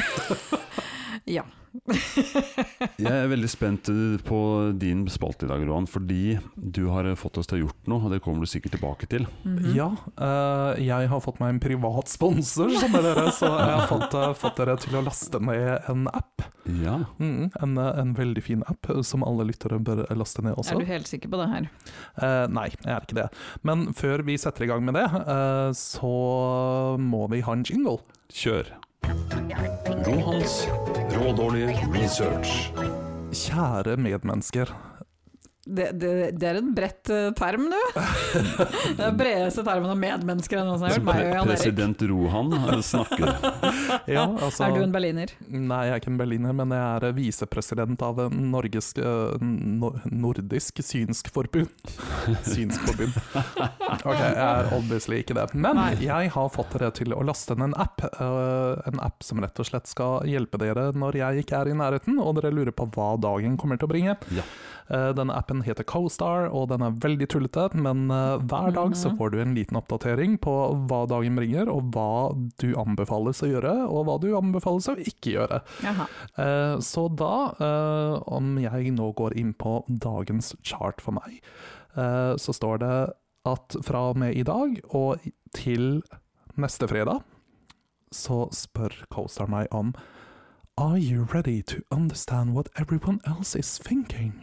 S3: Ja.
S2: (laughs) Jeg er veldig spent eh, på din spalte i dag, Roan, fordi du har eh, fått oss til å ha gjort noe, og det kommer du sikkert tilbake til.
S3: Mhm.
S4: Ja, eh, jeg har fått meg en privat sponsor, skjønner dere, så jeg har fått, eh, fått dere til å laste ned en app.
S2: Ja.
S4: Mm, en, eh, en veldig fin app eh, som alle lyttere bør eh, laste ned
S3: Er du
S4: også.
S3: helt sikker på det her?
S4: Eh, nei, jeg er ikke det. Men før vi setter i gang med det, eh, så må vi ha en jingle.
S2: Kjør.
S1: Rohans rådårlige research.
S4: Kjære medmennesker.
S3: (laughs) Det, det, det er en bredt eh, term, du. Det er den bredeste termen om medmennesker jeg noensinne har hørt. Meg og
S2: Pre
S3: Jan Erik.
S2: president Rohan eh,
S4: (laughs)
S2: snakker. (laughs)
S4: Ja, altså,
S3: Er du en berliner?
S4: Nei, jeg er ikke en berliner, men jeg er eh, visepresident av eh, Norges eh, no, Nordisk Synsk Forbund. Synsk Forbund. Ok, jeg er obviously ikke det. Men
S3: Nei.
S4: jeg har fått dere til å laste ned en app. eh, en app som rett og slett skal hjelpe dere når jeg ikke er i nærheten, og dere lurer på hva dagen kommer til å bringe.
S2: Ja.
S4: Eh, denne appen heter CoStar, og den er veldig tullete, men eh, hver dag så får du en liten oppdatering på hva dagen bringer, og hva du anbefales å gjøre, og hva du anbefales å ikke gjøre.
S3: Jaha.
S4: Eh, Så da, eh, om jeg nå går inn på dagens chart for meg, eh, så står det at fra og med i dag og til neste fredag, så spør Coaster meg om Are you ready to understand what everyone else is thinking?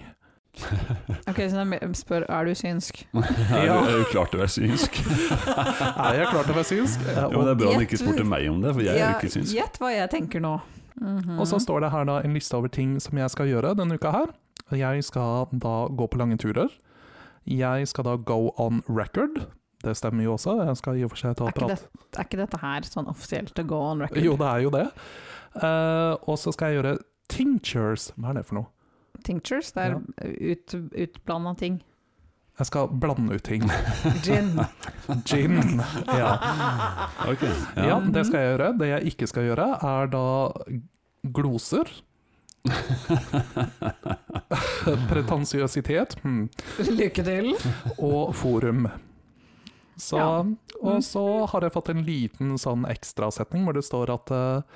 S3: Ok, så de spør er du synsk.
S2: Er du, er du klar til å være
S4: (laughs)
S2: synsk?
S4: Er jeg klar til å være synsk? Eh,
S2: Jo, men det
S4: Og,
S2: er bra han ikke spurte meg om det, for jeg er
S3: Ja,
S2: jo ikke synsk.
S3: Gjett hva jeg tenker nå. Mhm.
S4: og så står det her da en liste over ting som jeg skal gjøre denne uka her. Jeg skal da gå på lange turer. Jeg skal da go on record. Det stemmer jo også, jeg skal i og for seg ta
S3: Er ikke,
S4: prat.
S3: det, er ikke dette her sånn offisielt to go on record?
S4: Jo, det er jo det. Eh, og så skal jeg gjøre tinctures. Hva er det for noe?
S3: Tinctures, det er ut, utblanda ting.
S4: Jeg skal blande ut
S3: (laughs)
S4: ting.
S3: Gin.
S4: Gin. Ja.
S2: Ok,
S4: Ja.
S2: ja.
S3: Mhm.
S4: det skal jeg gjøre. Det jeg ikke skal gjøre, er da gloser.
S3: (laughs)
S4: (laughs) Pretensiøsitet hm,
S3: Lykke til.
S4: og forum. Så,
S3: Ja. Mm.
S4: Og så har jeg fått en liten sånn ekstrasetning hvor det står at eh,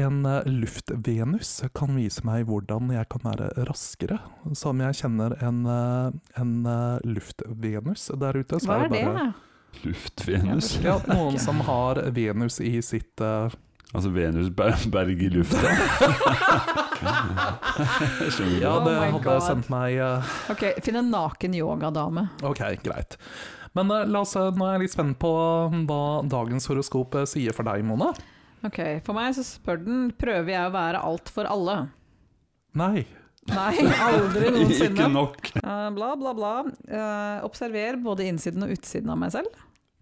S4: en eh, luftvenus kan vise meg hvordan jeg kan være raskere. Så om jeg kjenner en, eh, en eh, luftvenus der ute, så
S3: Hva er det?
S4: bare
S2: Luft-Venus.
S4: ja, noen som har Venus i sitt eh,
S2: Altså Venus ber- berg i lufta. Jeg (laughs) skjønner ikke.
S4: Ja,
S3: Oh
S4: det
S3: my
S4: hadde
S3: God.
S4: sendt meg eh,
S3: Ok, finn en naken yogadame.
S4: Ok, greit. Men eh, la oss, eh, nå er jeg litt spent på hva dagens horoskop eh, sier for deg, Mona.
S3: Ok, For meg så spør den prøver jeg å være alt for alle.
S4: Nei.
S3: Nei,
S2: (laughs)
S3: aldri
S2: Ikke
S3: noensinne.
S2: nok. (laughs)
S3: Eh, bla, bla, bla. Eh, observer både innsiden og utsiden av meg selv.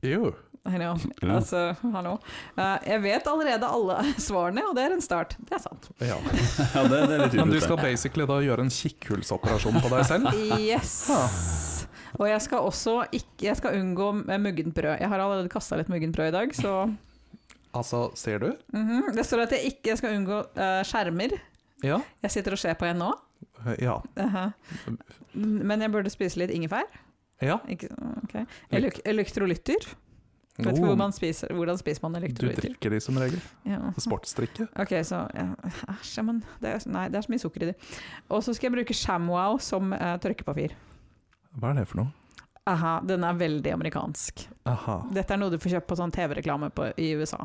S4: Jo.
S3: Hello.
S2: Ja.
S3: Altså, hallo. Eh, jeg vet allerede alle (laughs) svarene, og det er en start. Det er sant.
S4: Ja.
S2: Ja, det, det er litt
S4: Men du
S2: ubefekt.
S4: skal basically da gjøre en kikkhullsoperasjon på deg
S3: (laughs)
S4: selv?
S3: Yes! Og jeg skal også ikke, jeg skal unngå eh, muggent brød. Jeg har allerede kasta litt muggent brød i dag, så
S4: Altså, ser du?
S3: Mhm. Det står at jeg ikke skal unngå eh, skjermer.
S4: Ja.
S3: Jeg sitter og ser på en nå.
S4: Eh, Ja.
S3: Eh, Men jeg burde spise litt ingefær.
S4: ja.
S3: Ikke, ok. Elek elektrolytter. Vet ikke
S4: Oh,
S3: hvor man spiser, hvordan spiser man
S4: du
S3: elektrolytter?
S4: drikker de som regel.
S3: Ja.
S4: Sportsdrikke.
S3: Ok, så ja, Æsj, ja, men det er, nei, det er så mye sukker i det. Og så skal jeg bruke ShamWow som eh, tørkepapir.
S4: Hva er det for noe?
S3: Aha, den er veldig amerikansk.
S4: Aha.
S3: Dette er noe du får kjøpt på sånn TV-reklame på- i USA.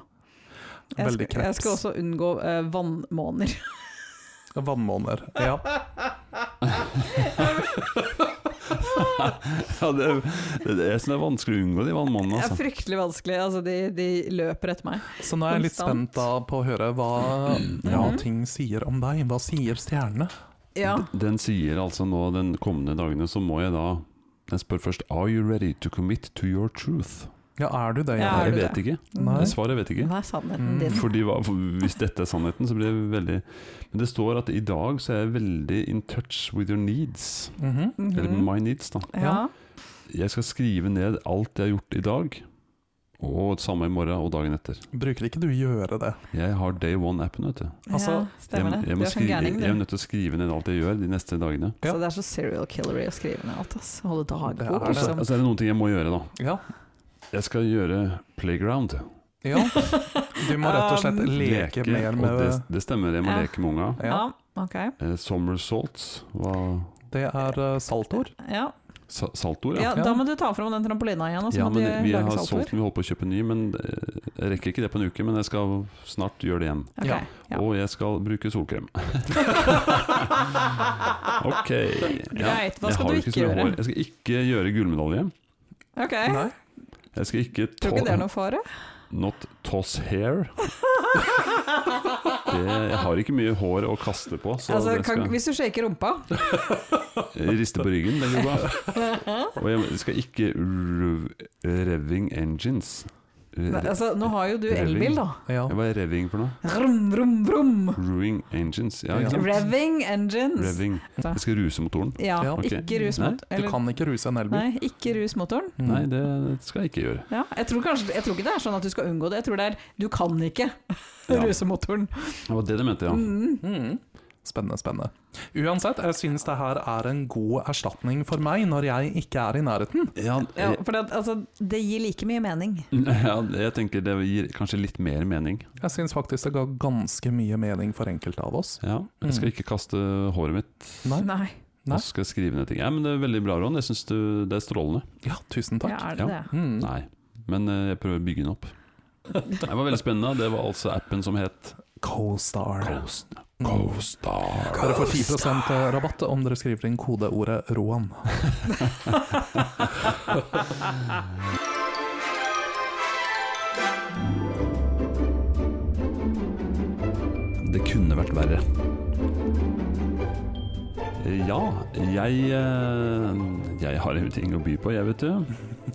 S3: Jeg
S4: Veldig
S3: skal, jeg skal
S4: kreps.
S3: også unngå eh, vannmåner.
S4: Vannmåner. Ja.
S2: Ja, det, det, det- jeg synes det er vanskelig å unngå de vannmånene.
S3: Det er
S2: Altså.
S3: fryktelig vanskelig. Altså, de, de løper etter meg.
S4: (laughs) Så nå er jeg litt
S3: Konstant.
S4: spent da på å høre hva, hva ting sier om deg. Hva sier stjernene?
S3: Ja.
S2: Den sier altså nå den kommende dagene, så må jeg da Jeg spør først Are you ready to commit to your truth?
S4: Ja, er du det?
S3: Ja,
S4: Jan
S3: er
S2: Jeg
S3: du
S2: vet ikke.
S4: Nei.
S2: Det Svaret vet jeg ikke.
S3: Mhm. Hva er sannheten din?
S2: Fordi hva, for Hvis dette er sannheten, så blir det veldig Men det står at i dag så er jeg veldig in touch with your needs.
S4: Mhm.
S3: Mhm.
S2: Eller my needs, da.
S3: ja.
S2: Jeg skal skrive ned alt jeg har gjort i dag, og samme i morgen og dagen etter.
S4: Bruker ikke du gjøre det?
S2: Jeg har day one-appen, vet du.
S4: Altså,
S3: ja,
S2: Jeg,
S3: stemmer det.
S2: jeg,
S3: du
S2: må
S3: er sånn
S2: skrive,
S3: gærning,
S2: jeg er
S3: du.
S2: nødt til å skrive ned alt jeg gjør de neste dagene.
S4: Ja.
S3: Så det er så serial killer i å skrive ned alt, ass. Holde
S4: Det
S3: dagbok,
S4: er
S2: Og så
S3: liksom.
S2: og så er det noen ting jeg må gjøre, da.
S4: Ja.
S2: Jeg skal gjøre playground.
S4: ja. (laughs) Um, Du må rett og slett leke mer
S2: og
S4: med
S2: det, det stemmer, jeg må
S3: Ja.
S2: leke med unga.
S4: Ja,
S3: Ja, ok.
S2: Eh, Somersaults var
S4: det er eh, saltord.
S3: Ja.
S2: sa saltord, ja.
S3: ja, da må du ta fram den trampolina igjen, og så
S2: Ja,
S3: må
S2: men
S3: du
S2: vi har
S3: lage
S2: solgt
S3: saltord.
S2: den, vi holder på å kjøpe en ny, men eh, jeg rekker ikke det på en uke. Men jeg skal snart gjøre det igjen.
S3: Ok,
S4: Ja.
S3: ja.
S2: Og jeg skal bruke
S3: (laughs)
S2: solkrem. ok.
S3: Greit, hva
S2: jeg
S3: skal
S2: har
S3: du
S2: jo
S3: ikke
S2: så mye
S3: gjøre?
S2: hår. Jeg skal ikke gjøre gullmedalje.
S3: Ok,
S4: Nei?
S2: Jeg skal ikke
S3: tror ikke det er
S2: to
S3: noe fare.
S2: not toss hair. Det, jeg har ikke mye hår å kaste på, så
S3: Altså,
S2: det
S3: kan,
S2: skal
S3: hvis du shaker rumpa
S2: riste på ryggen. Det går bra.
S3: (laughs)
S2: Og jeg skal ikke rev- revving engines.
S3: Nei,
S2: Re-
S3: altså, Nå har jo du
S2: Revving.
S3: elbil, da.
S4: Ja.
S2: Hva er revving for noe?
S3: Vrum, vrum, vrum.
S2: Ruing engines. Ja,
S4: Ja.
S2: ikke sant?
S3: Revving engines.
S2: Revving. Jeg skal ruse motoren.
S3: Ja,
S4: Ja.
S2: Ok.
S3: ikke rus
S2: Nei,
S3: mot
S4: Du
S3: eller-
S4: kan ikke ruse en elbil.
S3: Nei, ikke rus motoren.
S4: Mm.
S2: Nei, det skal jeg ikke gjøre.
S3: Ja, jeg, tror kanskje, jeg tror ikke det er sånn at du skal unngå det. Jeg tror det er du kan ikke (laughs)
S2: Ja.
S3: ruse motoren.
S2: Det var det du mente, ja.
S3: Mm.
S4: Mm. Spennende, spennende. Uansett, jeg syns det her er en god erstatning for meg når jeg ikke er i nærheten.
S2: Ja,
S3: Ja, for det, altså, det gir like mye mening.
S2: ja, jeg (laughs) tenker det gir kanskje litt mer mening.
S4: Jeg syns faktisk det ga ganske mye mening for enkelte av oss.
S2: Ja, jeg skal ikke kaste håret mitt
S4: Nei?
S3: Nei,
S4: Nei.
S2: og skal skrive ned ting. Ja, men Det er veldig bra, Ron. Jeg syns det er strålende.
S4: Ja, tusen
S3: ja,
S4: takk.
S3: er det
S2: Ja.
S3: det?
S4: Mm.
S2: Nei, men eh, jeg prøver å bygge (laughs) den opp. Det var veldig spennende. Det var altså appen som het
S4: Co-star.
S2: Ghost. Ghostar.
S4: Dere får 10 rabatt om dere skriver inn kodeordet 'Roan'.
S2: Det kunne vært verre. Ja, jeg eh, Jeg har ting å by på, jeg, vet du.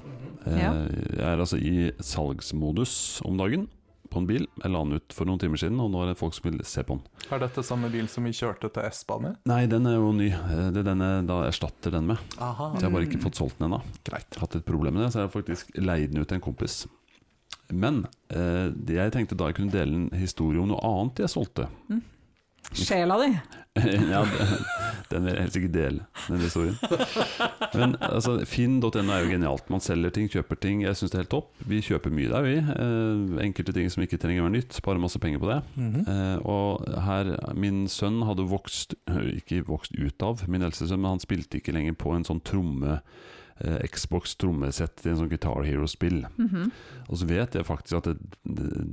S2: Eh,
S3: Ja.
S2: Jeg er altså i salgsmodus om dagen på en bil. Jeg la den ut for noen timer siden, og nå er det folk som vil se på den.
S4: Er dette samme bil som vi kjørte til Espa med?
S2: Nei, den er jo ny. Eh, Det er den jeg da erstatter den med.
S4: Aha,
S2: Så jeg har bare ikke fått solgt den ennå.
S4: greit.
S2: Hatt et problem med det, så jeg har faktisk leid den ut til en kompis. Men eh, det jeg tenkte da jeg kunne dele en historie om noe annet jeg solgte (laughs)
S3: Sjela di!
S2: ja, det- den vil jeg helst ikke dele, den historien. Men altså, Finn.no er jo genialt. Man selger ting, kjøper ting. Jeg syns det er helt topp. Vi kjøper mye der, vi. Eh, enkelte ting som ikke trenger å være nytt. Sparer masse penger på det.
S4: Mhm.
S2: Eh, og her, Min sønn hadde vokst Ikke vokst ut av, min eldste sønn, men han spilte ikke lenger på en sånn tromme eh, Xbox trommesett i en sånn Guitar Hero-spill.
S3: Mhm.
S2: Og så vet jeg faktisk at det,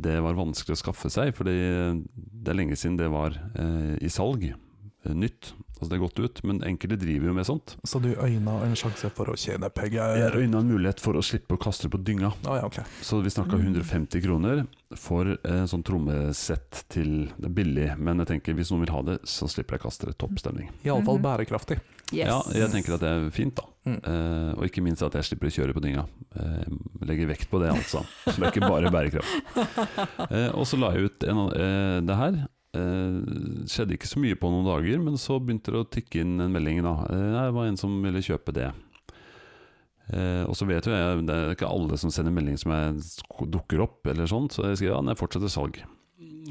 S2: det var vanskelig å skaffe seg, fordi eh, det er lenge siden det var eh, i salg. eh, Nytt. Altså det er gått ut, men enkelte driver jo med sånt.
S4: Så du øyna en sjanse for å tjene
S2: Jeg
S4: penger?
S2: øyna en mulighet for å slippe å kaste det på dynga.
S4: Å ja, ok.
S2: Så vi snakka 150 kroner for en sånn trommesett til Det er billig, men jeg tenker hvis noen vil ha det, så slipper jeg å kaste det. Topp stemning.
S4: Iallfall
S3: Mhm.
S4: bærekraftig.
S3: Yes.
S2: Ja, jeg tenker at det er fint, da.
S4: Mm.
S2: Eh, og ikke minst at jeg slipper å kjøre på dynga. Eh, legger vekt på det, altså. Det er ikke bare bærekraft. Eh, og så la jeg ut en, eh, det her. Eh, skjedde ikke så mye på noen dager, men så begynte det å tikke inn en melding. da eh, Det var en som ville kjøpe det. Eh, og så vet jo jeg, det er ikke alle som sender melding som jeg sk- dukker opp, eller sånt, så jeg skrev ja, den fortsetter salg.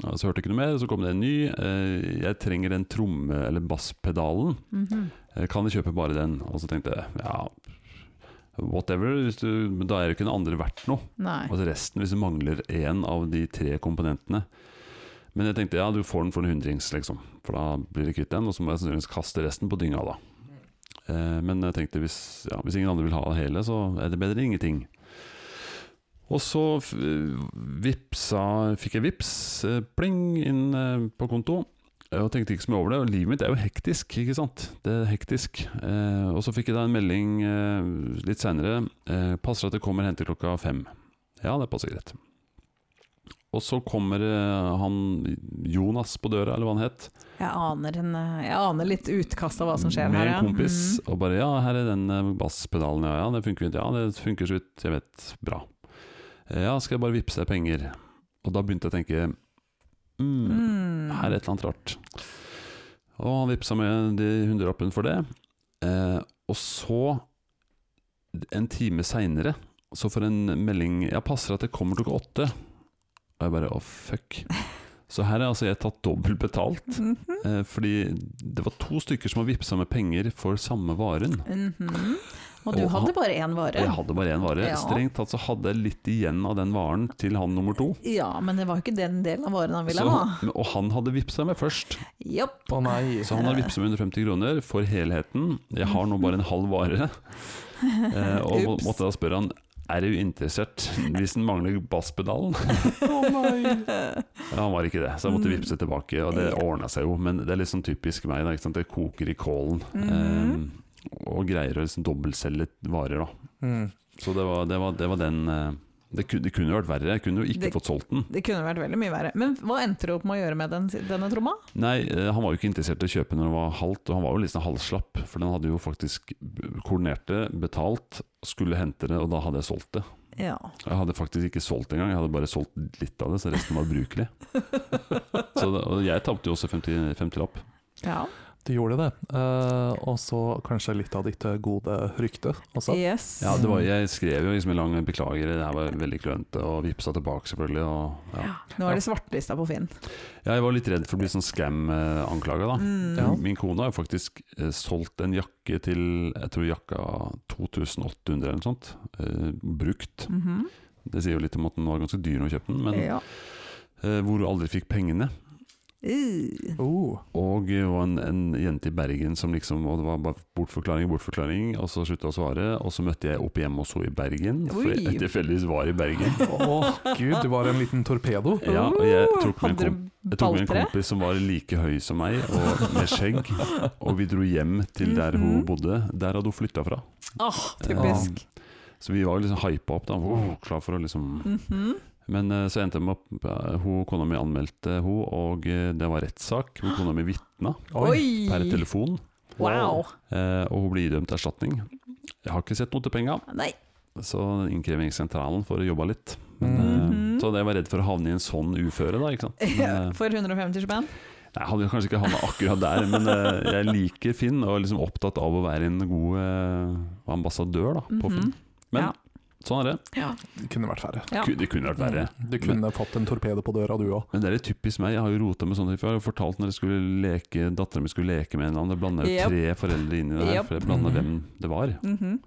S2: Og så hørte jeg ikke noe mer, så kom det en ny. Eh, jeg trenger den tromme- eller basspedalen.
S3: Mhm.
S2: Eh, Kan vi kjøpe bare den? Og så tenkte jeg, ja, whatever, hvis du, men da er jo ikke den andre verdt noe.
S3: Nei.
S2: Altså resten, hvis du mangler en av de tre komponentene. Men jeg tenkte, ja, du får den for en hundrings, liksom. For da blir det kvitt den, og så må jeg sannsynligvis kaste resten på dynga da. Eh, men jeg tenkte, hvis, ja, hvis ingen andre vil ha det hele, så er det bedre enn ingenting. Og så f- vipsa, fikk jeg vips, eh, pling, inn eh, på konto. Eh, Og tenkte ikke så mye over det, og livet mitt er jo hektisk, ikke sant? Det er hektisk. Eh, og så fikk jeg da en melding eh, litt senere. Eh, passer at det kommer og henter klokka fem. Ja, det passer greit. Og så kommer eh, han Jonas på døra, eller hva han het.
S3: Jeg aner, en, eh, jeg aner litt utkast av hva som skjer
S2: med
S3: her. ja.
S2: en kompis.
S3: Mhm.
S2: Og bare 'ja, her er den eh, basspedalen', ja, ja, det funker, ja, det funker så vidt jeg vet. Bra. Eh, Ja, skal jeg bare vippse deg penger? Og da begynte jeg å tenke mm,
S3: Mm.
S2: Her er et eller annet rart. Og han vippsa med de hundrelappen for det. Eh, og så, en time seinere, så får jeg en melding Ja, passer at det kommer klokka åtte. Og jeg bare å,
S3: (laughs)
S2: fuck. Så her er altså jeg tatt dobbelt betalt.
S3: Mhm.
S2: Eh, fordi det var to stykker som har vippsa med penger for samme varen.
S3: Mhm. Og du
S2: Og han-
S3: hadde bare én vare.
S2: Og jeg hadde bare én vare.
S3: Ja.
S2: Strengt tatt så hadde jeg litt igjen av den varen til han nummer to.
S3: Ja, men det var jo ikke den delen av varen han ville
S2: Så,
S3: ha.
S2: og han hadde vippsa med først. (laughs)
S3: Jopp.
S4: Å nei.
S2: Så han har vippset med 150 kroner for helheten. Jeg har nå bare en halv
S3: (laughs)
S2: vare. Eh, og må-
S3: Ups.
S2: måtte da spørre han er du interessert hvis den mangler basspedalen.
S4: Å nei.
S3: Mm.
S2: Ja, han var ikke det, så jeg måtte vippse tilbake. Og det ordna seg jo, men det er litt sånn typisk meg. Da, ikke sant? Det koker i kålen.
S3: Mm.
S2: eh, og greier å liksom dobbeltselge varer, da.
S4: Mm.
S2: Så det var, det var, det var den eh, det kunne, det kunne jo vært verre, jeg kunne jo ikke
S3: Det-
S2: fått solgt den.
S3: Det kunne vært veldig mye verre. Men hva endte du opp med å gjøre med den, denne tromma?
S2: Nei, eh, han var jo ikke interessert i å kjøpe når det var halvt, og han var jo liksom halvslapp, for den hadde jo faktisk b- koordinert det, betalt, skulle hente det, og da hadde jeg solgt det.
S3: Ja.
S2: Jeg hadde faktisk ikke solgt det engang, jeg hadde bare solgt litt av det, så resten var brukelig. Så det, og jeg tapte jo også 50 50-lapp.
S3: ja.
S4: Du gjorde det. Eh, og så kanskje litt av ditt eh, gode rykte også.
S3: Yes.
S2: ja, det var, jeg skrev jo liksom en lang beklager, det her var veldig klønete, og vipsa tilbake selvfølgelig. Og, ja.
S3: Nå er det svartlista på Finn.
S2: Ja, jeg var litt redd for å bli sånn scam-anklaga, da.
S3: Mm.
S4: Ja.
S2: Min kone har jo faktisk eh, solgt en jakke til Jeg tror jakka 2800 eller noe sånt. Eh, brukt.
S3: Mhm.
S2: Det sier jo litt om at den var ganske dyr når hun kjøpte den, men
S3: ja.
S2: eh, hvor hun aldri fikk pengene.
S3: Uh.
S4: Oh.
S2: Og det var en, en jente i Bergen som liksom Og det var bare bortforklaring, bortforklaring, og så slutta hun å svare. Og så møtte jeg opp hjemme hos henne i Bergen, for
S3: Oi.
S2: jeg tilfeldigvis var i Bergen.
S4: Å gud, du var en liten torpedo.
S2: Ja, og jeg tok med en kom-
S3: Uh. Hadde du
S2: Jeg tok med en
S3: balltre?
S2: kompis som var like høy som meg, og med skjegg. Og vi dro hjem til der hun
S3: Mhm.
S2: bodde. Der hadde hun flytta fra.
S3: Åh, typisk.
S2: Så vi var liksom hypa opp, da. Wow, klar for å liksom
S3: Mhm.
S2: Men eh, så endte det med at eh, hun, kona mi anmeldte hun, og eh, det var rettssak. Hun kona mi vitna
S3: Oi!
S2: per telefon,
S3: Wow.
S2: eh, og hun ble idømt erstatning. Jeg har ikke sett noe til penga,
S3: Nei.
S2: Så innkrevingssentralen får jobba litt.
S4: Mm.
S2: Men,
S3: Mhm.
S2: eh, så jeg var redd for å havne i en sånn uføre, da. Ikke sant? Men, eh,
S3: (laughs) For 150 spenn?
S2: Nei, Jeg hadde kanskje ikke havna akkurat der, men eh, jeg liker Finn og er liksom opptatt av å være en god eh, ambassadør da, på
S3: Mhm.
S2: Finn. Men
S3: Ja.
S2: sånn er det.
S3: Ja.
S4: Det kunne vært færre.
S3: Ja.
S2: Ku- Det kunne vært verre.
S4: Du kunne fått en torpedo på døra, du òg.
S2: Men det er litt typisk meg. Jeg har jo rota med sånne ting før. Jeg har jo fortalt når jeg skulle leke, dattera mi skulle leke med en eller annen. Jeg blanda jo
S3: Yep.
S2: tre foreldre inn i det her,
S3: Yep.
S2: for jeg blanda
S4: Mhm.
S2: hvem det var.
S3: Mhm.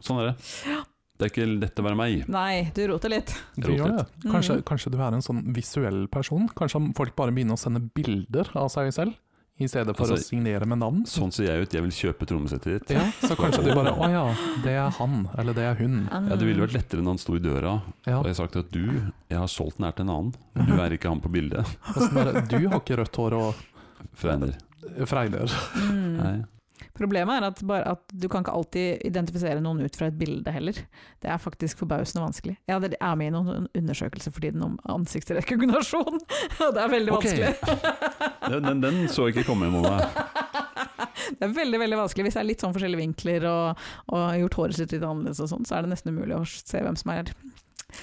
S2: Sånn er det. Det er ikke lett å være meg.
S3: Nei, du roter litt.
S4: Du gjør det.
S3: Mm.
S4: Kanskje, kanskje du er en sånn visuell person? Kanskje folk bare begynner å sende bilder av seg selv, i stedet for
S2: Altså-
S4: å signere med navn?
S2: Sånn ser jeg ut. Jeg vil kjøpe trommesettet ditt.
S4: Ja, så kanskje de bare 'Å ja, det er han', eller 'det er hun'.
S2: Ja, Det ville vært lettere når han sto i døra
S4: Ja,
S2: og jeg sagt at du, jeg har solgt den her til en annen. Du er ikke han på bildet.
S4: og sånn der, Du har ikke rødt hår og
S2: Fregner.
S4: fregner.
S3: Mm.
S2: Nei.
S3: Problemet er at, bare at du kan ikke alltid identifisere noen ut fra et bilde heller. Det er faktisk forbausende vanskelig. Jeg hadde- jeg er med i noen undersøkelser for tiden om ansiktsrekognasjon, (laughs) og det er veldig
S2: Ok.
S3: vanskelig.
S2: (laughs) Den, den, den så jeg ikke komme, Mona.
S3: (laughs) det er veldig veldig vanskelig. Hvis det er litt sånn forskjellige vinkler og, og har gjort håret sitt litt annerledes og sånn, så er det nesten umulig å se hvem som er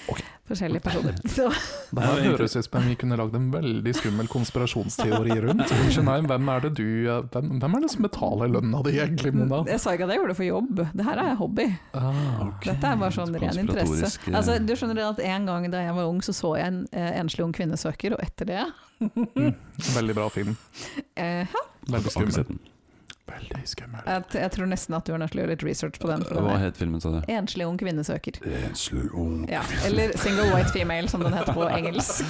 S4: Ok.
S3: forskjellige personer. Så,
S4: Det
S2: Ja,
S4: her
S2: egentlig-
S4: høres ut som om vi kunne lagd en veldig skummel konspirasjonsteori rundt. Unnskyld, nei, hvem er det du eh, Hvem, hvem er det som betaler lønna di egentlig, Mona?
S3: jeg sa ikke at jeg gjorde det for jobb, det her er hobby.
S4: Ah,
S3: Dette er bare sånn ren interesse.
S2: Konspiratorisk, eh,
S3: Altså, du skjønner det at En gang da jeg var ung, så så jeg en eh, enslig ung kvinne søker, og etter det
S4: veldig bra film.
S3: eh,
S4: Veldig
S2: har ikke
S4: skummel.
S2: sett den.
S4: Veldig skummel.
S3: jeg, jeg tror nesten at du er nødt til å gjøre litt research på den. For
S2: Hva
S3: den er.
S2: het filmen, sa du?
S3: Enslig ung kvinne søker.
S2: Enslig ung
S3: Ja. Eller single white female, som den heter
S2: (laughs)
S3: på engelsk.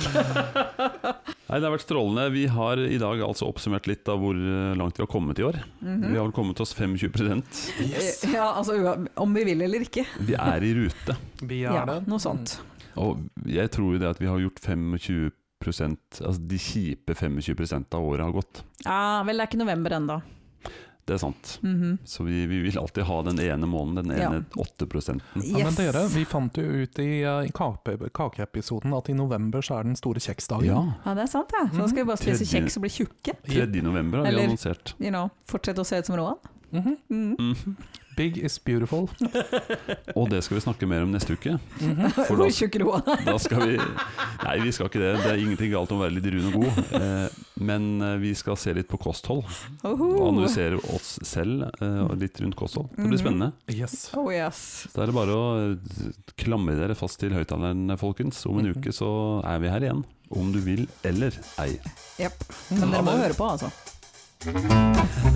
S2: Nei, Det har vært strålende. Vi har i dag altså oppsummert litt av hvor eh, langt vi har kommet i år.
S3: Mhm.
S2: Vi har vel kommet oss 25
S4: Yes,
S3: Ja, altså ua- om vi vil eller ikke.
S2: Vi er i rute.
S4: vi er
S3: Ja,
S4: det.
S3: noe
S2: Mm.
S3: sånt.
S2: Og jeg tror jo det at vi har gjort 25 Altså de kjipe 25 av året har gått.
S3: Ja, vel, det er ikke november ennå.
S2: Det er sant.
S3: Mhm.
S2: Så vi, vi vil alltid ha den ene måneden, den
S3: Ja.
S2: ene 8 prosenten.
S4: Ja, men
S3: Yes.
S4: dere, vi fant jo ut i, eh, i kake, kakeepisoden at i november så er den store kjeksdagen.
S2: Ja.
S3: Ja, det er sant, det. Så nå skal vi bare spise
S2: Tredje-
S3: kjeks og bli tjukke.
S2: 3. november har vi
S3: Eller-
S2: annonsert.
S3: You know, Fortsette å se ut som Roan.
S4: Mhm.
S3: Mhm.
S2: Mhm.
S4: Big is beautiful.
S2: Og det skal vi snakke mer om neste uke.
S4: Mhm.
S2: For
S3: (laughs)
S2: da
S3: Hvor tjukk Roan er.
S2: Da skal vi Nei, vi skal ikke det. Det er ingenting galt om å være litt rund og god. Eh, men eh, vi skal se litt på kosthold. Og
S3: Oho.
S2: analysere oss selv eh, og litt rundt kosthold. Det
S3: Mm.
S2: blir spennende.
S4: Yes.
S3: Oh yes.
S2: Så da er det bare å eh, klamre dere fast til høyttaleren, folkens. Om en uke så er vi her igjen. Om du vil eller ei.
S3: Jepp. Men dere må høre på, altså.